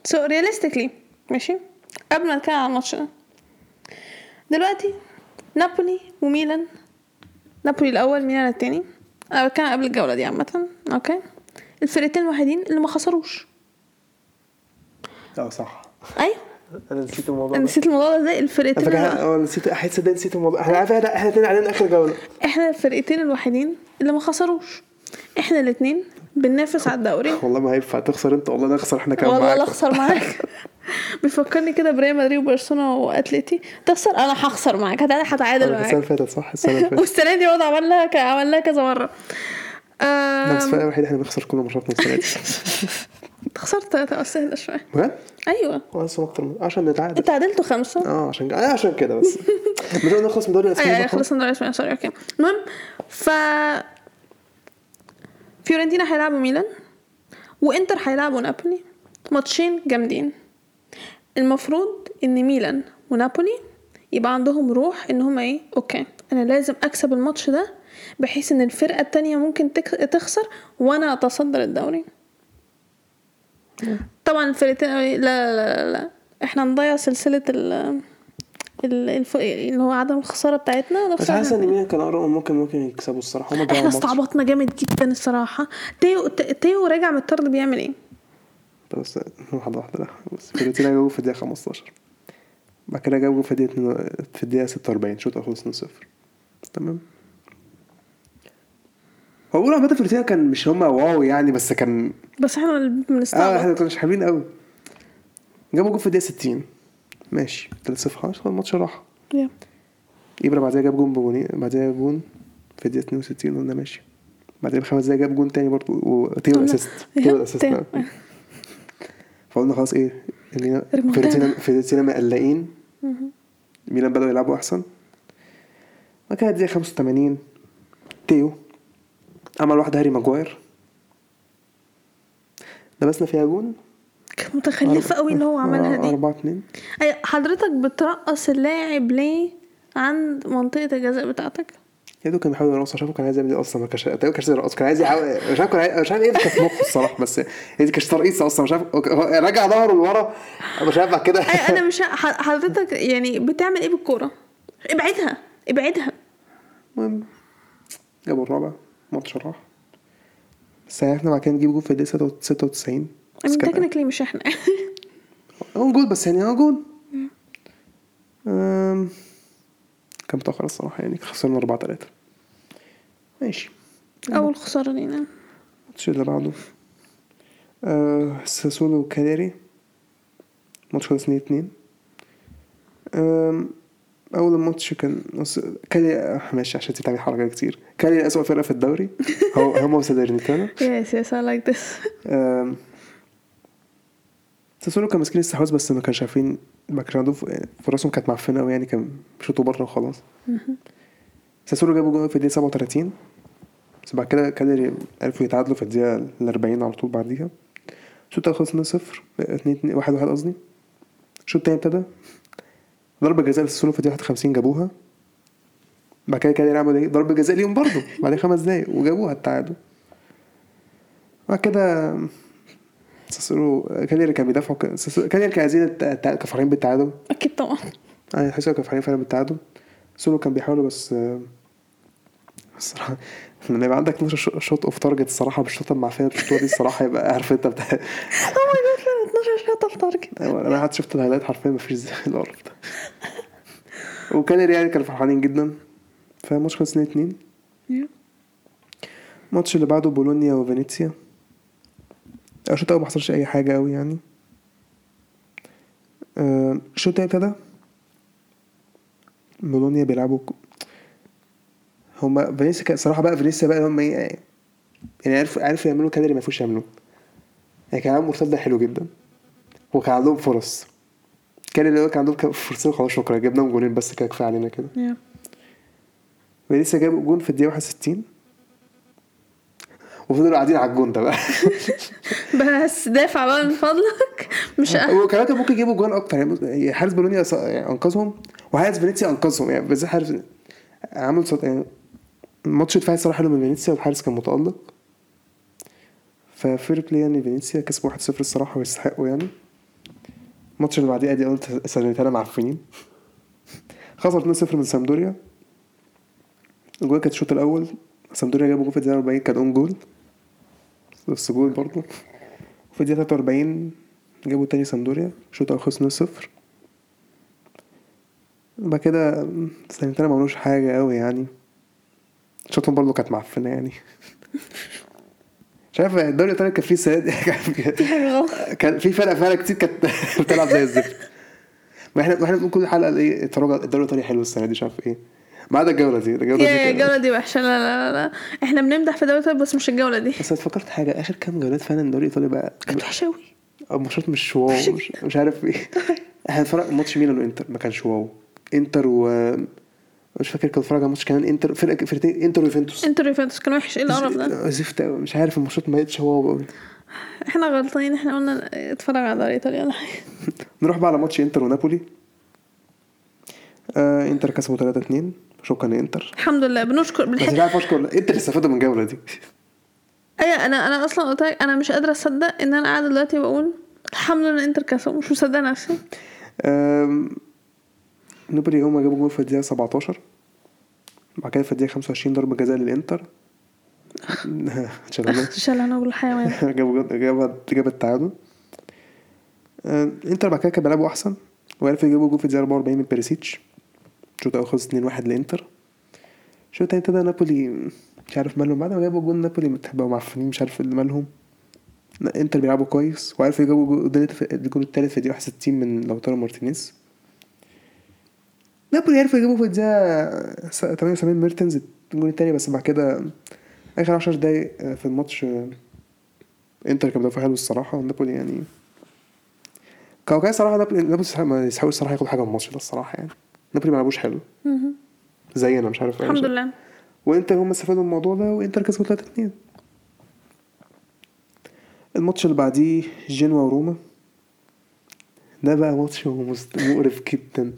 سو رياليستيكلي ماشي قبل ما نتكلم على الماتش ده دلوقتي نابولي وميلان نابولي الاول ميلان التاني انا بتكلم قبل الجوله دي عامه اوكي الفرقتين الوحيدين اللي ما خسروش
اه صح
ايوه
انا نسيت الموضوع
انا
ده
نسيت الموضوع ده ازاي
انا
الفرقتين
فاكر
الوا-
اه نسيت حاسس ده نسيت الموضوع احنا عارف احنا احنا تاني علينا اخر جولة
احنا الفرقتين الوحيدين اللي ما خسروش احنا الاتنين بننافس على الدوري
والله ما هينفع تخسر انت والله نخسر احنا كمان
والله
معاك
لا اخسر معاك بيفكرني كده بريال مدريد وبرشلونه واتليتي تخسر انا هخسر معاك هتعادل هتعادل
السنه
معاك
آه، اللي فاتت صح السنه اللي فاتت
والسنه دي برضه عملناها ك- عملناها كذا مره
ده بس الفرق
آم،
الوحيد احنا بنخسر كل مراتنا السنه دي
انت خسرت ثلاثه بس سهله شويه
بجد؟
ايوه
اصلا اكتر من عشان نتعادل
انت عدلتوا خمسه
اه عشان آه عشان كده بس مش قلنا نخلص من الدوري الاسباني
اي اي
بقى؟
خلصنا الدوري الاسباني سوري اوكي المهم ف فيورنتينا هيلعبوا ميلان وانتر هيلعبوا نابولي ماتشين جامدين المفروض ان ميلان ونابولي يبقى عندهم روح ان هما ايه اوكي انا لازم اكسب الماتش ده بحيث ان الفرقه التانية ممكن تك- تخسر وانا اتصدر الدوري طبعا الفرقتين لا لا لا, لا, لا. احنا هنضيع سلسله ال ال- الف... اللي هو عدم الخساره بتاعتنا
بس
ونخسر
حاسس ان ميلان كان اقرب ممكن ممكن يكسبوا الصراحه هم ضيعوا
احنا
الماتش.
استعبطنا جامد جدا الصراحه تيو ت- تيو راجع من الطرد بيعمل ايه
بس واحده واحده لا بس فيورنتينا جابوا في الدقيقه 15 بعد كده جابوا في الدقيقه اتنين- في الدقيقه 46 شوط اخلص 2-0 تمام هو اول عامه فيورنتينا كان مش هما واو يعني بس كان
بس احنا اللي
اه
بنستعبط
احنا كناش حابين قوي جابوا جول في الدقيقه 60 ماشي 3-0 خلاص الماتش راح
يا.
ابرا بعدها جاب جون بجونين بعدها جون في الدقيقه 62 قلنا ماشي بعدها بخمس دقايق جاب جون تاني برضه وتيبل
قلنا-
اسيست تيبل اسيست
تيبل.
فقلنا خلاص ايه اللي
ريمونتادا.
فيرنتينا فيرنتينا مقلقين ميلان بدأوا يلعبوا احسن بعد كده الدقيقه 85 تيو عمل واحد هاري ماجواير لبسنا فيها جون
كانت متخلفه قوي اللي هو عملها دي
4 2
أي حضرتك بترقص اللاعب ليه عند منطقه الجزاء بتاعتك
يا دوب كان بيحاول يرقص شافه كان عايز يعمل ايه اصلا ما كانش تقريبا كانش يرقص كان عايز يحاول مش عارف كان عايز- مش عارف ايه اللي كان في مخه الصراحه بس هي دي كانتش ترقيصه اصلا مش عارف هو رجع ظهره لورا مش عارف بعد كده
أي انا مش ه- ح- حضرتك يعني بتعمل ايه بالكوره ابعدها ابعدها
المهم جابوا الرابع ماتش راح بس احنا بعد كده نجيب جول في الدقيقه 96 بس
من
كان-
تكنيكلي مش احنا
هو جول بس يعني هو جول أم، كان متاخر الصراحه يعني خسرنا 4 3 ماشي
اول خساره لينا
الماتش اللي بعده آه ساسولو وكاليري ماتش خلص 2 2 آم، اول أه، ماتش كان أص- كالي آه، ماشي عشان تتعمل حركه كتير كالي اسوأ فرقه في الدوري هو هم وساليرنيتانا
يس يس اي لايك ذس
آم، ساسولو كان ماسكين السحواز بس ما كانش عارفين ما كانش عندهم ف- فرصهم كانت معفنه قوي يعني كان شوطوا بره وخلاص ساسولو جابوا جول في الدقيقه 37 بس بعد كده كاليري عرفوا يتعادلوا في الدقيقه ال 40 على طول بعديها الشوط الاول خلص 2 0 2 2 1 1 قصدي الشوط التاني ابتدى ضربه جزاء لساسولو في الدقيقه 51 جابوها بعد كده كاليري عملوا ايه ضربه جزاء ليهم برضه بعدين خمس دقايق وجابوها التعادل بعد كده ساسولو كاليري كان بيدافعوا ك- ساسولو- كاليري كان عايزين الت- الت- يعني كانوا فرحانين بالتعادل
اكيد طبعا
انا حاسس إنهم كانوا فرحانين فعلا بالتعادل سولو كان بيحاولوا بس آه، الصراحه لما يبقى عندك 12 شوط اوف تارجت الصراحه بالشوطه المعفيه بالشوطه دي الصراحه يبقى عارف انت بتاع
او ماي جاد فعلا 12 شوطه في تارجت
انا حتى شفت الهايلايت حرفيا مفيش زي القرف ده وكان يعني كانوا فرحانين جدا فماتش خلص 2 2
Yeah.
الماتش اللي بعده بولونيا وفينيسيا آه، الشوط الاول ما حصلش اي حاجه قوي يعني آه، الشوط التاني ابتدى بولونيا بيلعبوا ك- هما فينيسيا كان- صراحه بقى فينيسيا بقى هم ايه يعني عرفوا عرفوا يعملوا كده اللي ما يعرفوش يعملوه يعني كان عندهم مرتده حلو جدا وكان عندهم فرص كان اللي هو كان عندهم كان فرصتين خلاص شكرا جبناهم جولين بس كده كفايه علينا كده
Yeah.
لسه جاب جون في الدقيقه 61 وفضلوا قاعدين على الجون ده بقى
بس دافع بقى من فضلك مش أه.
وكمان كان ممكن يجيبوا جوان اكتر يعني حارس بولونيا أص- يعني انقذهم وحارس فينيسيا انقذهم يعني بالذات حارس عمل صوت يعني ماتش دفاعي صراحه حلو من فينيسيا والحارس كان متالق ففير بلاي يعني فينيسيا كسبوا 1-0 الصراحه ويستحقوا يعني الماتش اللي بعديه ادي قلت ساليتانا معفنين خسر 2-0 من سامدوريا الجول كانت الشوط الاول سامدوريا جابوا جول في الدقيقه 40 كان اون جول بس جول برضه في الدقيقة 43 جابوا تاني سامدوريا شوط أول خلص 2-0 بعد كده سانيتانا ما عملوش حاجة أوي يعني شوطهم برضه كانت معفنة يعني مش عارف الدوري الايطالي كان فيه السنه دي كان-
حاجة غلط
كان في فرقه فعلا كتير كانت بتلعب زي الزفت ما احنا ما احنا بنقول كل حلقه ايه اتفرجوا على- الدوري الايطالي حلو السنه دي مش عارف ايه ما عدا الجوله دي الجوله دي
يا
كان-
الجولة دي وحشة لا لا لا, لا. احنا بنمدح في دوري بس مش الجولة دي
بس اتفكرت حاجه اخر كام جولات فعلا الدوري الايطالي بقى
كانت وحشة أوي
ماتشات مش واو مش, مش عارف ايه احنا فرق ماتش ميلان وانتر ما كانش واو انتر و مش فاكر كنت بتفرج على ماتش كمان انتر فرقه فرقتين انتر ويوفنتوس
انتوا اليوفنتوس كان وحش ايه القرف ده
زفت قوي مش عارف الماتشات ما بقتش واو قوي
احنا غلطانين احنا قلنا اتفرج على دوري ايطاليا ولا حاجة.
نروح بقى على ماتش انتر ونابولي آه انتر كسبوا 3 2 شكرا انتر
الحمد لله بنشكر
بس
بالحق
مش عارف اشكر ولا انتر استفادوا من الجوله دي
ايوه انا انا اصلا قلت لك انا مش قادره اصدق ان انا قاعده دلوقتي بقول الحمد لله انتر كسبوا مش مصدقه نفسي
آم، نابولي هما جابوا جول في الدقيقه 17 بعد كده في الدقيقه 25 ضربه جزاء للانتر شغلنا
شال انا اقول الحيوان
جابوا جاب جاب- جاب التعادل آه، انتر بعد كده كان بيلعبوا احسن وعرفوا يجيبوا جول في الدقيقه 44 من بيريسيتش الشوط الاول خلص 2-1 لانتر الشوط التاني ابتدى نابولي مش عارف مالهم بعد ما جابوا جول نابولي بقوا معفنين مش عارف إيه اللي مالهم لا، انتر بيلعبوا كويس وعرفوا يجيبوا جول- الجول التالت- الجول التالت في الدقيقه 61 من لوتارو مارتينيز نابولي عرفوا يجيبوا في الدقيقه 78 ميرتنز الجول التاني بس بعد كده اخر 10 دقايق آه، في الماتش آه، انتر كان مدافع حلو الصراحه نابولي يعني كانوا كان صراحه نابولي نابولي يستحق- ما يستحقوش الصراحه ياخد حاجه من الماتش ده الصراحه يعني نابولي ما لعبوش حلو
مهم.
زينا مش عارف
الحمد لله
وانتر هم استفادوا من الموضوع ده وانتر كسبوا 3 2 الماتش اللي بعديه جنوا وروما ده بقى ماتش مست- مقرف جدا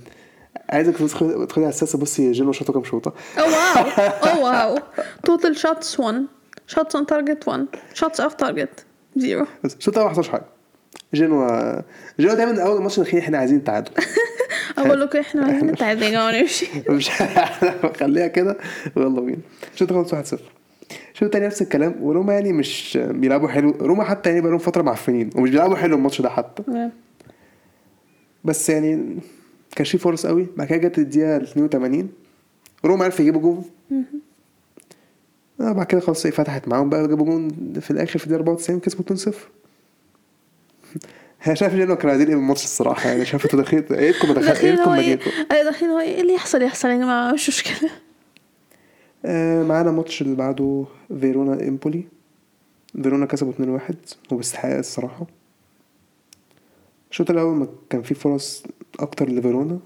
عايزك تدخل- تدخلي على الساسه بصي جنوا شاطه كام شوطه
او واو او واو توتال شوتس 1 شوتس اون تارجت 1 شوتس اوف تارجت زيرو
بس الشوط الاول ما حصلش حاجه جنوا جنوا دايما اول ماتش الاخير احنا عايزين تعادل
اقول لكم احنا عايزين نتعادل يا جماعه ونمشي
مش خليها كده ويلا بينا الشوط خلص 1 0 الشوط التاني نفس الكلام وروما يعني مش بيلعبوا حلو روما حتى يعني بقالهم فتره معفنين ومش بيلعبوا حلو الماتش ده حتى بس يعني كان في فرص قوي بعد كده جت الدقيقه 82 روما عرف يجيبوا جون آه بعد كده خلاص ايه فتحت معاهم بقى جابوا جون في الاخر في الدقيقه 94 كسبوا 2 0 انا شايف ان انا كانوا عايزين ايه من الماتش الصراحه يعني شايف انتوا داخلين ايه لكم دخل ايه
داخلين
لكم
هو ايه
مجالكم
أيوة، داخلين هو ايه اللي يحصل يحصل يا جماعه مش مشكله
آه معانا ماتش اللي بعده فيرونا امبولي فيرونا كسبوا 2-1 وباستحقاق الصراحة الشوط الأول ما كان فيه فرص أكتر لفيرونا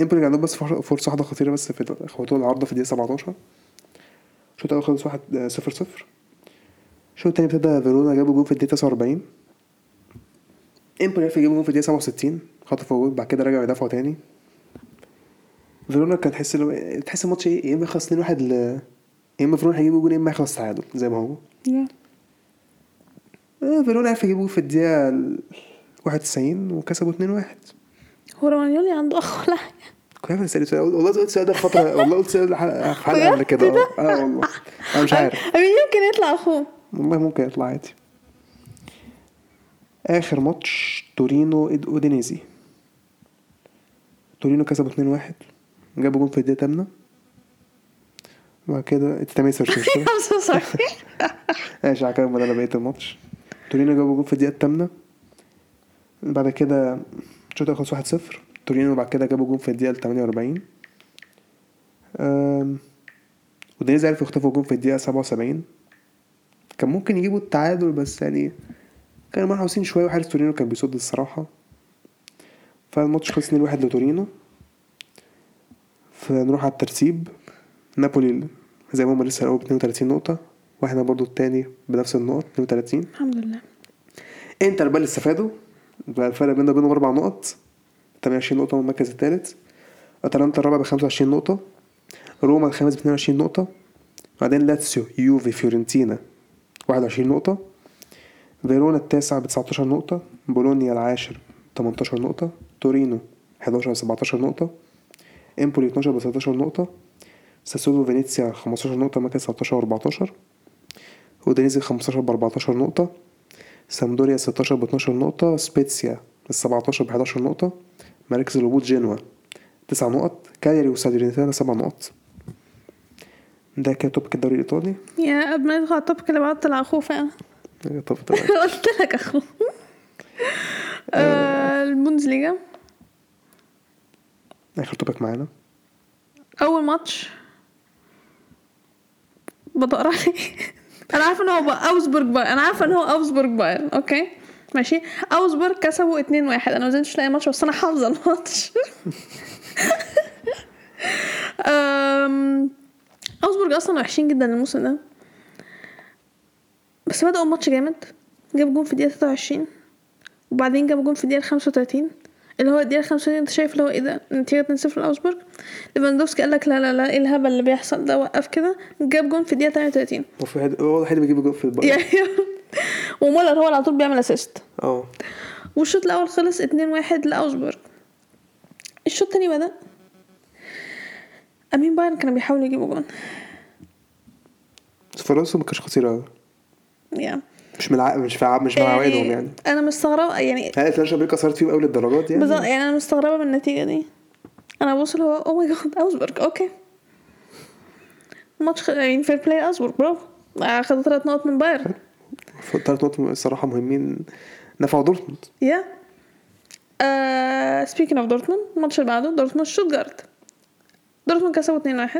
امبولي كان عندهم بس فر- فرصة واحدة خطيرة بس في خبطوها العارضة في الدقيقة 17 الشوط الأول خلص 1 0 0 الشوط التاني ابتدى فيرونا جابوا جول في الدقيقة 49 امبولي عرف يجيبوا جول في الدقيقة 67 خطفوا جول بعد كده رجعوا يدافعوا تاني فيرونا كان تحس لو... تحس الماتش ايه يا اما يخلص 2 1 ل... يا اما فيرونا هيجيبوا جول يا اما هيخلص تعادل زي ما هو آه، فيرونا عرف يجيبوا في الدقيقة ال 91 وكسبوا 2 1
هو رومانيولي عنده اخ ولا حاجه
كنت عارف انا سألت السؤال والله قلت السؤال ده في فترة والله قلت السؤال ده حلقة- في حلقة قبل كده اه آه، والله انا مش عارف
أمين يمكن يطلع اخوه
والله ممكن يطلع عادي اخر ماتش تورينو إد- اودينيزي تورينو كسبوا 2-1 جابوا جول في الدقيقة 8 وبعد كده انت تمام مش كده
I'm so sorry.
ماشي على كده انا بقيت الماتش تورينو جابوا جول في الدقيقة الثامنة بعد كده الشوط الأول خلص 1-0 تورينو بعد كده جابوا جول في الدقيقة 48 أم... ودينيز عرف يخطفوا جول في الدقيقة 77 كان ممكن يجيبوا التعادل بس يعني كانوا منحوسين شوية وحارس تورينو كان بيصد الصراحة فالماتش خلص 2-1 لتورينو فنروح على الترتيب نابولي زي ما هما لسه الأول ب 32 نقطة واحنا برضو التاني بنفس النقط 32
الحمد لله
انتر بقى اللي استفادوا بقى الفرق بيننا وبينهم اربع نقط 28 نقطة من المركز التالت اتلانتا الرابع ب 25 نقطة روما الخامس ب 22 نقطة بعدين لاتسيو يوفي فيورنتينا 21 نقطة فيرونا التاسع ب 19 نقطة بولونيا العاشر 18 نقطة تورينو 11 ب 17 نقطة امبولي 12 ب 13 نقطة ساسولو فينيسيا 15 نقطة مركز 13 و 14 اودينيزي 15 ب 14 نقطة سامدوريا 16 ب 12 نقطة سبيتسيا ال 17 ب 11 نقطة مراكز الهبوط جنوا 9 نقط كاليري وساليرنتانا 7 نقط ده كده توبك الدوري الايطالي
يا قبل ما ندخل على التوبك اللي بعد طلع اخوه فعلا
آه، طب طبعا
قلت لك اخوه آه، البوندسليجا
اخر توبك معانا
اول ماتش بدقر عليه انا عارفه ان هو بقى اوزبورج بايرن انا عارفه ان هو اوزبورج بايرن اوكي ماشي اوزبورج كسبوا 2-1 انا ما نزلتش لاقي ماتش بس انا حافظه الماتش أم، اوزبورج اصلا وحشين جدا الموسم ده بس بدأوا الماتش جامد جاب جون في الدقيقة 23 وبعدين جاب جون في الدقيقة 35 اللي هو الدقيقة 35 انت شايف اللي هو ايه ده نتيجة 2-0 لأوزبورج ليفاندوفسكي قال لك لا لا لا ايه الهبل اللي بيحصل ده وقف كده جاب جون في الدقيقة 38
هو في واحد هو الوحيد اللي بيجيب جول في البايرن
يعني ومولر هو اللي على طول بيعمل اسيست
اه
والشوط الاول خلص 2-1 لاوزبورج الشوط التاني بدا امين بايرن كانوا بيحاولوا يجيبوا جون
بس فرنسا ما كانش خطير قوي
يعني
مش ملع... مش في مش مع عوايدهم يعني
انا مستغربه يعني
هل اتلانتا امريكا صارت فيهم قوي للدرجات يعني
بالظبط يعني انا مستغربه من النتيجه دي انا ببص اللي هو "Oh او ماي جاد اوزبورج اوكي ماتش خ- يعني فير بلاي اوزبورج برافو اخدوا ثلاث نقط من بايرن
ثلاث نقط الصراحه مهمين نفعوا دورتموند
يا سبيكينج اوف آه، دورتموند الماتش اللي بعده دورتموند شوتجارت دورتموند كسبوا 2-1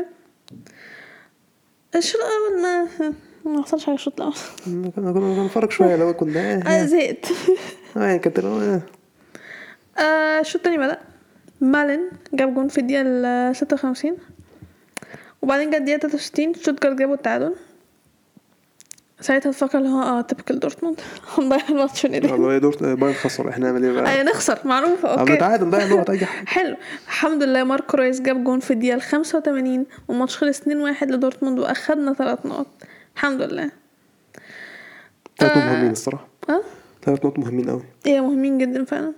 الشوط الاول ما ما حصلش حاجه الشوط الاول
كنا كنا بنفرج شويه لو كنا
انا
اه
زهقت
آه، يعني كانت اه
آه، الشوط التاني بدأ مالن جاب جون في الدقيقة ال 56 وبعدين جت الدقيقة 63 شوتجارت جابوا التعادل ساعتها الفكرة اللي هو اه تبكل دورتموند هنضيع الماتش من ايدينا
والله دورتموند بايرن خسر احنا نعمل ايه بقى؟
ايوه نخسر معروفة
طب
اوكي
نتعادل نضيع طيب. نقط اي حاجه
حلو الحمد لله ماركو رويس جاب جون في الدقيقة الخمسة وتمانين والماتش خلص اتنين واحد لدورتموند وأخدنا ثلاث نقط الحمد لله
ثلاث نقط مهمين الصراحه
اه
ثلاث نقط مهمين قوي
ايه مهمين جدا فعلا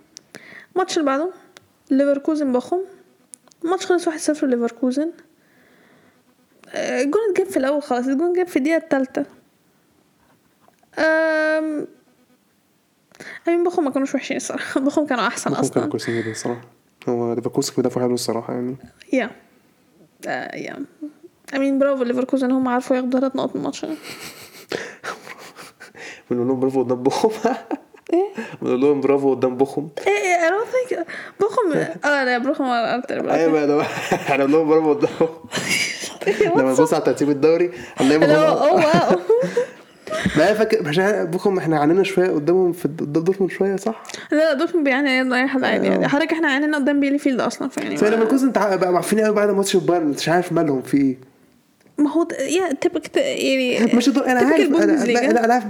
الماتش اللي بعده ليفركوزن بخم الماتش خلص واحد صفر ليفركوزن آه، الجون اتجاب في الأول خلاص الجون جاب في الدقيقة التالتة أم... أمين بخم ما كانوش وحشين الصراحة بخم كانوا أحسن
هم كانوا
أصلا
كويسين جدا الصراحه هو ليفركوزن كان بيدافعوا حلو الصراحه يعني
يا آه، يا امين برافو ليفركوزن هم عارفوا ياخدوا ثلاث نقط من الماتش ده
بنقول لهم برافو قدام بخم
ايه
بنقول لهم برافو قدام بخم
ايه ايه انا ثينك بخم اه لا بخم ولا ارتر
ايوه
بخم
بقى لو- احنا بنقول لهم برافو قدام بخم لما
إيه، What's up؟
نبص على ترتيب الدوري هنلاقي
اللي هو
بخم
اوه واو
ما أنا فاكر مش عارف- بخم احنا عانينا شويه قدامهم في قدام دورتموند شويه صح؟
لا لا دورتموند بيعاني ايام اي حد عادي يعني
أيوه.
حضرتك احنا عانينا قدام بيلي فيلد يعني اصلا فيعني
فانا
ما-
ليفركوزن تع- بقى معفين قوي بعد ماتش البايرن مش عارف مالهم في ايه
ما هو ده- يا تبك يعني
مش الدور انا
typical
عارف انا لا,
Bundesliga.
لا انا عارف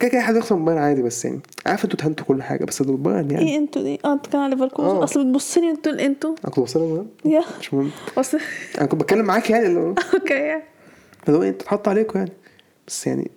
كده كده حد يخسر من بايرن عادي بس يعني عارف انتوا تهنتوا كل حاجه بس دول بايرن يعني
ايه انتوا دي اه انت كان على ليفركوزن
آه.
اصل بتبصلي انتوا انتوا
انا كنت بوصل المهم
يا
مش مهم
اصل
انا كنت بتكلم معاك يعني اللي هو
اوكي
اللي هو إيه، اتحط عليكم يعني بس يعني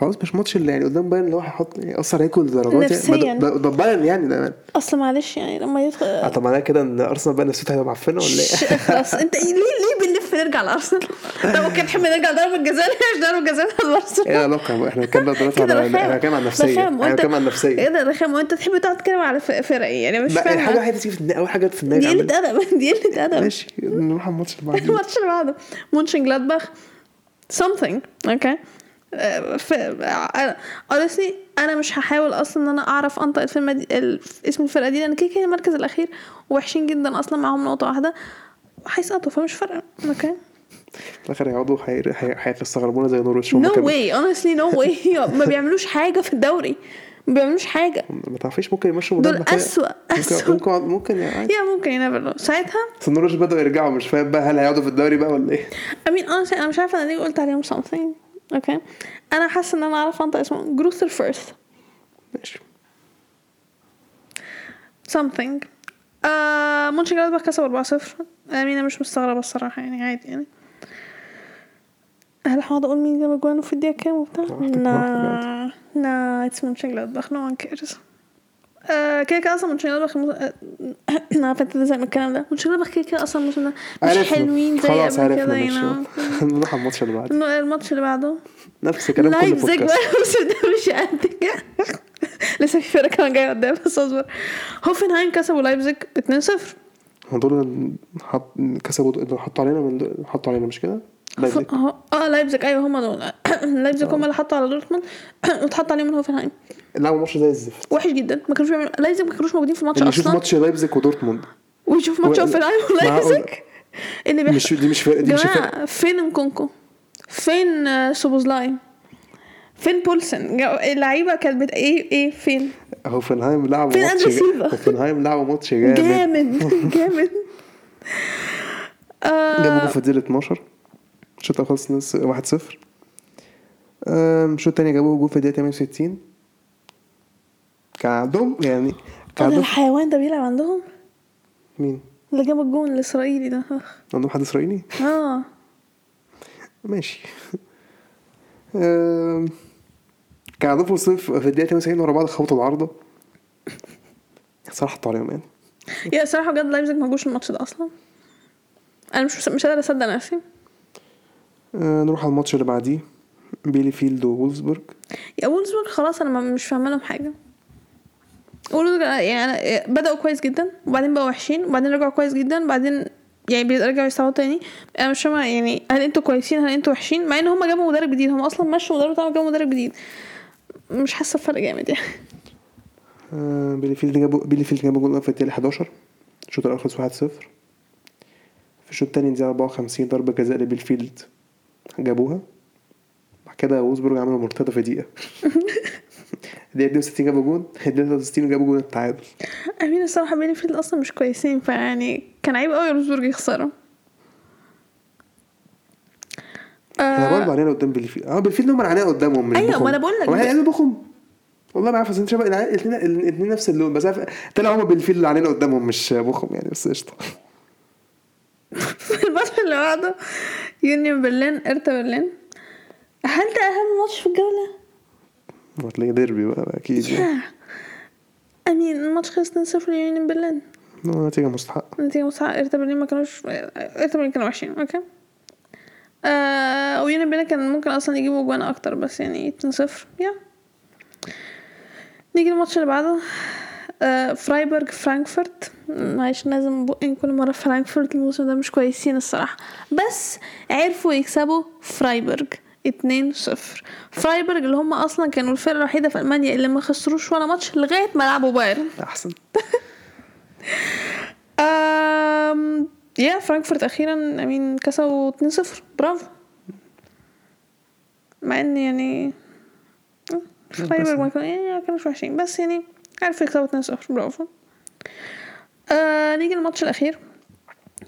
خلاص مش ماتش اللي يعني قدام بايرن اللي هو هيحط ياثر عليكم للدرجات
نفسياً.
يعني ما ده- ده بايرن يعني ده
اصل معلش يعني لما يدخل
آه، طب معناها كده ان ارسنال بقى نفسيتها هتبقى معفنه ولا ايه؟
خلاص انت ليه ليه بنلف نرجع لارسنال؟ طب اوكي نحب نرجع ضربة جزاء مش ضربة جزاء لارسنال
ايه العلاقه احنا بنتكلم بقى دلوقتي على احنا بنتكلم عن النفسيه
رخام
احنا
وانت
بنتكلم عن
ايه
النفسيه
ده رخام وانت تحب تقعد تتكلم على ف- فرقي يعني مش
لا، الحاجه
فاهمه
الوحيده اللي تيجي في دماغي اول حاجه في دماغي
دي قلة
عمال-
ادب دي قلة ادب
ماشي نروح على الماتش اللي بعديه
الماتش اللي بعده مونشن جلادباخ something اوكي آه، ف آه، honestly انا مش هحاول اصلا ان انا اعرف انطق الفيلم دي ال- اسم الفرقه دي لان كده كده المركز الاخير وحشين جدا اصلا معاهم نقطه واحده هيسقطوا فمش فارقه اوكي
في الاخر هيقعدوا هي- هي- هيستغربونا زي نورتش هم
نو
كانوا-
واي اونستلي نو واي ما بيعملوش حاجه في الدوري ما بيعملوش حاجه
ما تعرفيش ممكن يمشوا
دول
مدرب كده.
أسوأ،
ممكن-
أسوأ.
ممكن ممكن يعني
يا ممكن ينفر ساعتها
بس نورتش بدأوا يرجعوا مش فاهم بقى هل هيقعدوا في الدوري بقى ولا ايه؟
امين انا انا مش عارفه انا ليه قلت عليهم something اوكي انا حاسه ان انا عارفه انطق اسمه جروثر فيرث
ماشي
something آه مونشن جلادباخ كسبوا 4-0 امين انا مش مستغربه الصراحه يعني عادي يعني هل هقعد اقول مين جاب جوانه في الدقيقه كام وبتاع
براحتك،
لا
براحتك
لا اتس مونشن جلادباخ نو وان كيرز آه، كده كده اصلا مونشن جلادباخ الموس- آه، انا عارفه انت زي من الكلام ده مونشن جلادباخ كده كده اصلا الموسم ده مش
عرفنا.
حلوين زي
خلاص
قبل
عرفنا
كده
ماشي
يعني
نروح على الماتش اللي بعده
الماتش اللي بعده
نفس الكلام كل
لايبزيج بقى
بودكاست
الموسم ده مش قد كده لسه في فرقه كمان جايه قدام بس اصبر هوفنهايم كسبوا لايبزيج 2-0
هو دول اللي حط- كسبوا اللي حطوا علينا من دول- حطوا علينا مش كده؟ لايبزيج
اه آه، لايبزيج ايوه هما دول لايبزيج هما اللي حطوا على دورتموند واتحط عليهم الهوفنهايم
لعبوا ماتش زي الزفت
وحش جدا ما كانوش بيعملوا لايبزيج ما كانوش موجودين في الماتش
اللي يشوف
اصلا
ماتش لايبزيج ودورتموند
ويشوف ماتش
و-
اوفنهايم
معقول.
ولايبزيج إيه اللي
مش
بيحصل
دي مش فرق دي مش فرق
جماعه فين نكونكو فين آه، سوبوزلاي فين بولسن جا- اللعيبه كانت بت... ايه ايه فين
هوفنهايم لعبوا
فين
ماتش
أندرو
جا-
سيلفا؟
هوفنهايم لعبوا ماتش جامد
جامد جامد
جابوا
آه
جول في الدقيقة 12 الشوط الأول خلص نص- 1-0 أم، الشوط التاني جابوا جول في الدقيقة 68 كان عندهم يعني كان
ده
عندهم
الحيوان ده بيلعب عندهم
مين؟
اللي جاب الجون الاسرائيلي ده
عندهم حد إسرائيلي؟
اه
ماشي أم، كان عندهم فرصتين في في الدقيقة 98 ورا بعض خبطوا العارضة صراحة حطوا عليهم يعني
يا صراحه بجد لايبزيج ما جوش الماتش ده اصلا انا مش مش قادره اصدق نفسي
أه، نروح على الماتش اللي بعديه بيلي فيلد وولفسبورج
يا وولزبورج خلاص انا ما- مش فاهمه لهم حاجه وولزبورج يعني بداوا كويس جدا وبعدين بقوا وحشين وبعدين رجعوا كويس جدا وبعدين يعني بيرجعوا يصعدوا تاني انا مش فاهمه يعني هل انتوا كويسين هل انتوا وحشين مع ان هم جابوا مدرب جديد هم اصلا مشوا مدرب بتاعهم جابوا مدرب جديد مش حاسه بفرق جامد يعني
آه، بيليفيلد جابوا بيليفيلد جابوا جول في الدقيقة 11 الشوط الأول خلص 1-0 في الشوط التاني الدقيقة 54 ضربة جزاء لبيلفيلد جابوها بعد كده وولزبورج عملوا مرتدة في دقيقة الدقيقة 62 جابوا جول الدقيقة 63 جابوا جول التعادل
امين الصراحه بينفيلد اصلا مش كويسين فيعني كان عيب قوي وولزبورج يخسروا
احنا برضه علينا قدام بيليفيلد اه بيلفيلد هم العناية قدامهم مش
أيوة،
بخم.
ما أنا بقول لك.
هو احنا قلنا بخم والله ما عارف اصل انت شبه العيال- الاتنين الاتنين نفس اللون بس عارف طلع هما بيلفيلد اللي علينا قدامهم مش بخم يعني بس قشطة
في الماتش اللي بعده يونيون برلين ارتا برلين هل ده اهم ماتش في الجوله؟
هتلاقي ديربي بقى اكيد يعني
ياه. امين آه. الماتش خلص 2-0 ليونيون برلين
آه، نتيجة مستحقة
نتيجة مستحقة ارتا برلين ما كانوش ارتا برلين كانوا وحشين اوكي آه ويونيون برلين كان ممكن اصلا يجيبوا جوان اكتر بس يعني 2-0 يا نيجي الماتش اللي بعده آه فرايبورغ فرانكفورت معلش لازم بقين كل مرة فرانكفورت الموسم ده مش كويسين الصراحة بس عرفوا يكسبوا فرايبورغ 2-0 فرايبورغ اللي هم اصلا كانوا الفرقة الوحيدة في المانيا اللي ما خسروش ولا ماتش لغاية ما لعبوا بايرن
احسن
أم... يا فرانكفورت اخيرا امين كسبوا 2-0 برافو مع ان يعني فرايبورغ ما كانوا يعني ما كانوش وحشين بس يعني عرفوا يكسبوا 2-0 برافو آه نيجي الماتش الاخير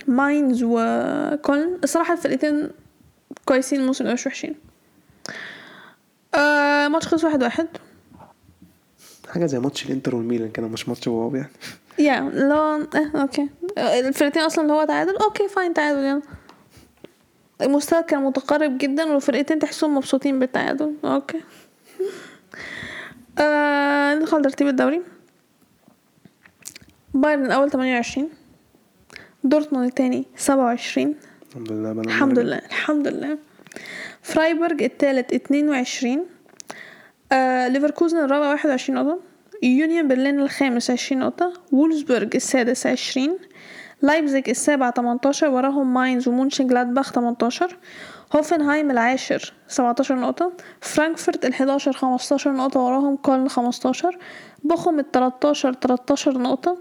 ماينز وكولن الصراحه الفرقتين كويسين الموسم ده مش وحشين آه ماتش خلص واحد واحد
حاجه زي ماتش الانتر والميلان كده مش ماتش واو يعني
يا لا اه اوكي آه، الفرقتين اصلا اللي هو تعادل اوكي فاين تعادل يعني المستوى كان متقارب جدا والفرقتين تحسهم مبسوطين بالتعادل اوكي آه ندخل ترتيب الدوري بايرن الاول 28 دورتموند الثاني 27
الحمد لله بنا
الحمد لله الحمد لله فرايبورغ الثالث 22 آه ليفركوزن الرابع 21 نقطة يونيون برلين الخامس 20 نقطة وولفسبورغ السادس 20 لايبزيج السابع 18 وراهم ماينز ومونشن جلادباخ 18 هوفنهايم العاشر 17 نقطة فرانكفورت ال11 15 نقطة وراهم كولن 15 بوخم ال13 13 نقطة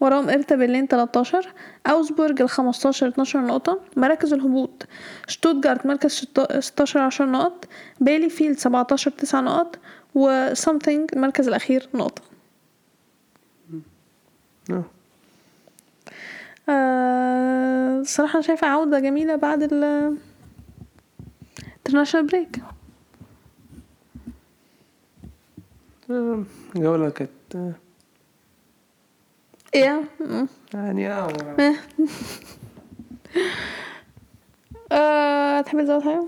وراهم إرتا برلين 13 أوسبورج ال 15 12 نقطة مراكز الهبوط شتوتجارت مركز شت- 16 10 نقط بايلي فيلد 17 9 نقط وسامثينج المركز الأخير نقطة
آه.
آه، الصراحة أنا شايفة عودة جميلة بعد ال international break
آه، جولة كانت آه،
yeah مم.
يعني اه
آه، تحب تزود حاجة؟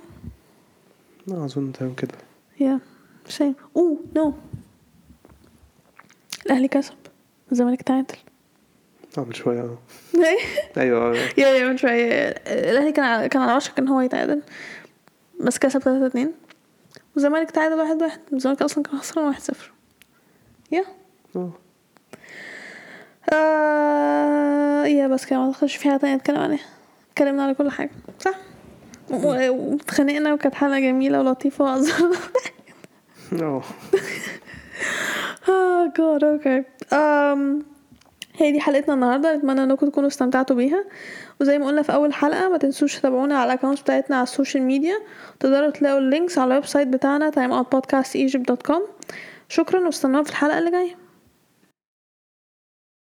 آه، اظن تمام كده
yeah same اوه نو الأهلي كسب الزمالك تعادل
اه من شوية اه ايوه آه.
يا يا من شوية الأهلي كان على- كان على وشك إن هو يتعادل بس كسب تلاتة اتنين والزمالك تعادل واحد واحد الزمالك أصلا كان خسران واحد صفر يا
آه.
آه يا بس كده ما تخش في حاجة تانية نتكلم عليها اتكلمنا على كل حاجة صح و- واتخانقنا وكانت حلقه جميله ولطيفه وهزار
اه
اه جاد اوكي أم Um, هي دي حلقتنا النهارده اتمنى انكم تكونوا استمتعتوا بيها وزي ما قلنا في اول حلقه ما تنسوش تتابعونا على الاكونتس بتاعتنا على السوشيال ميديا تقدروا تلاقوا اللينكس على الويب سايت بتاعنا timeoutpodcastegypt.com شكرا واستنونا في الحلقه اللي جايه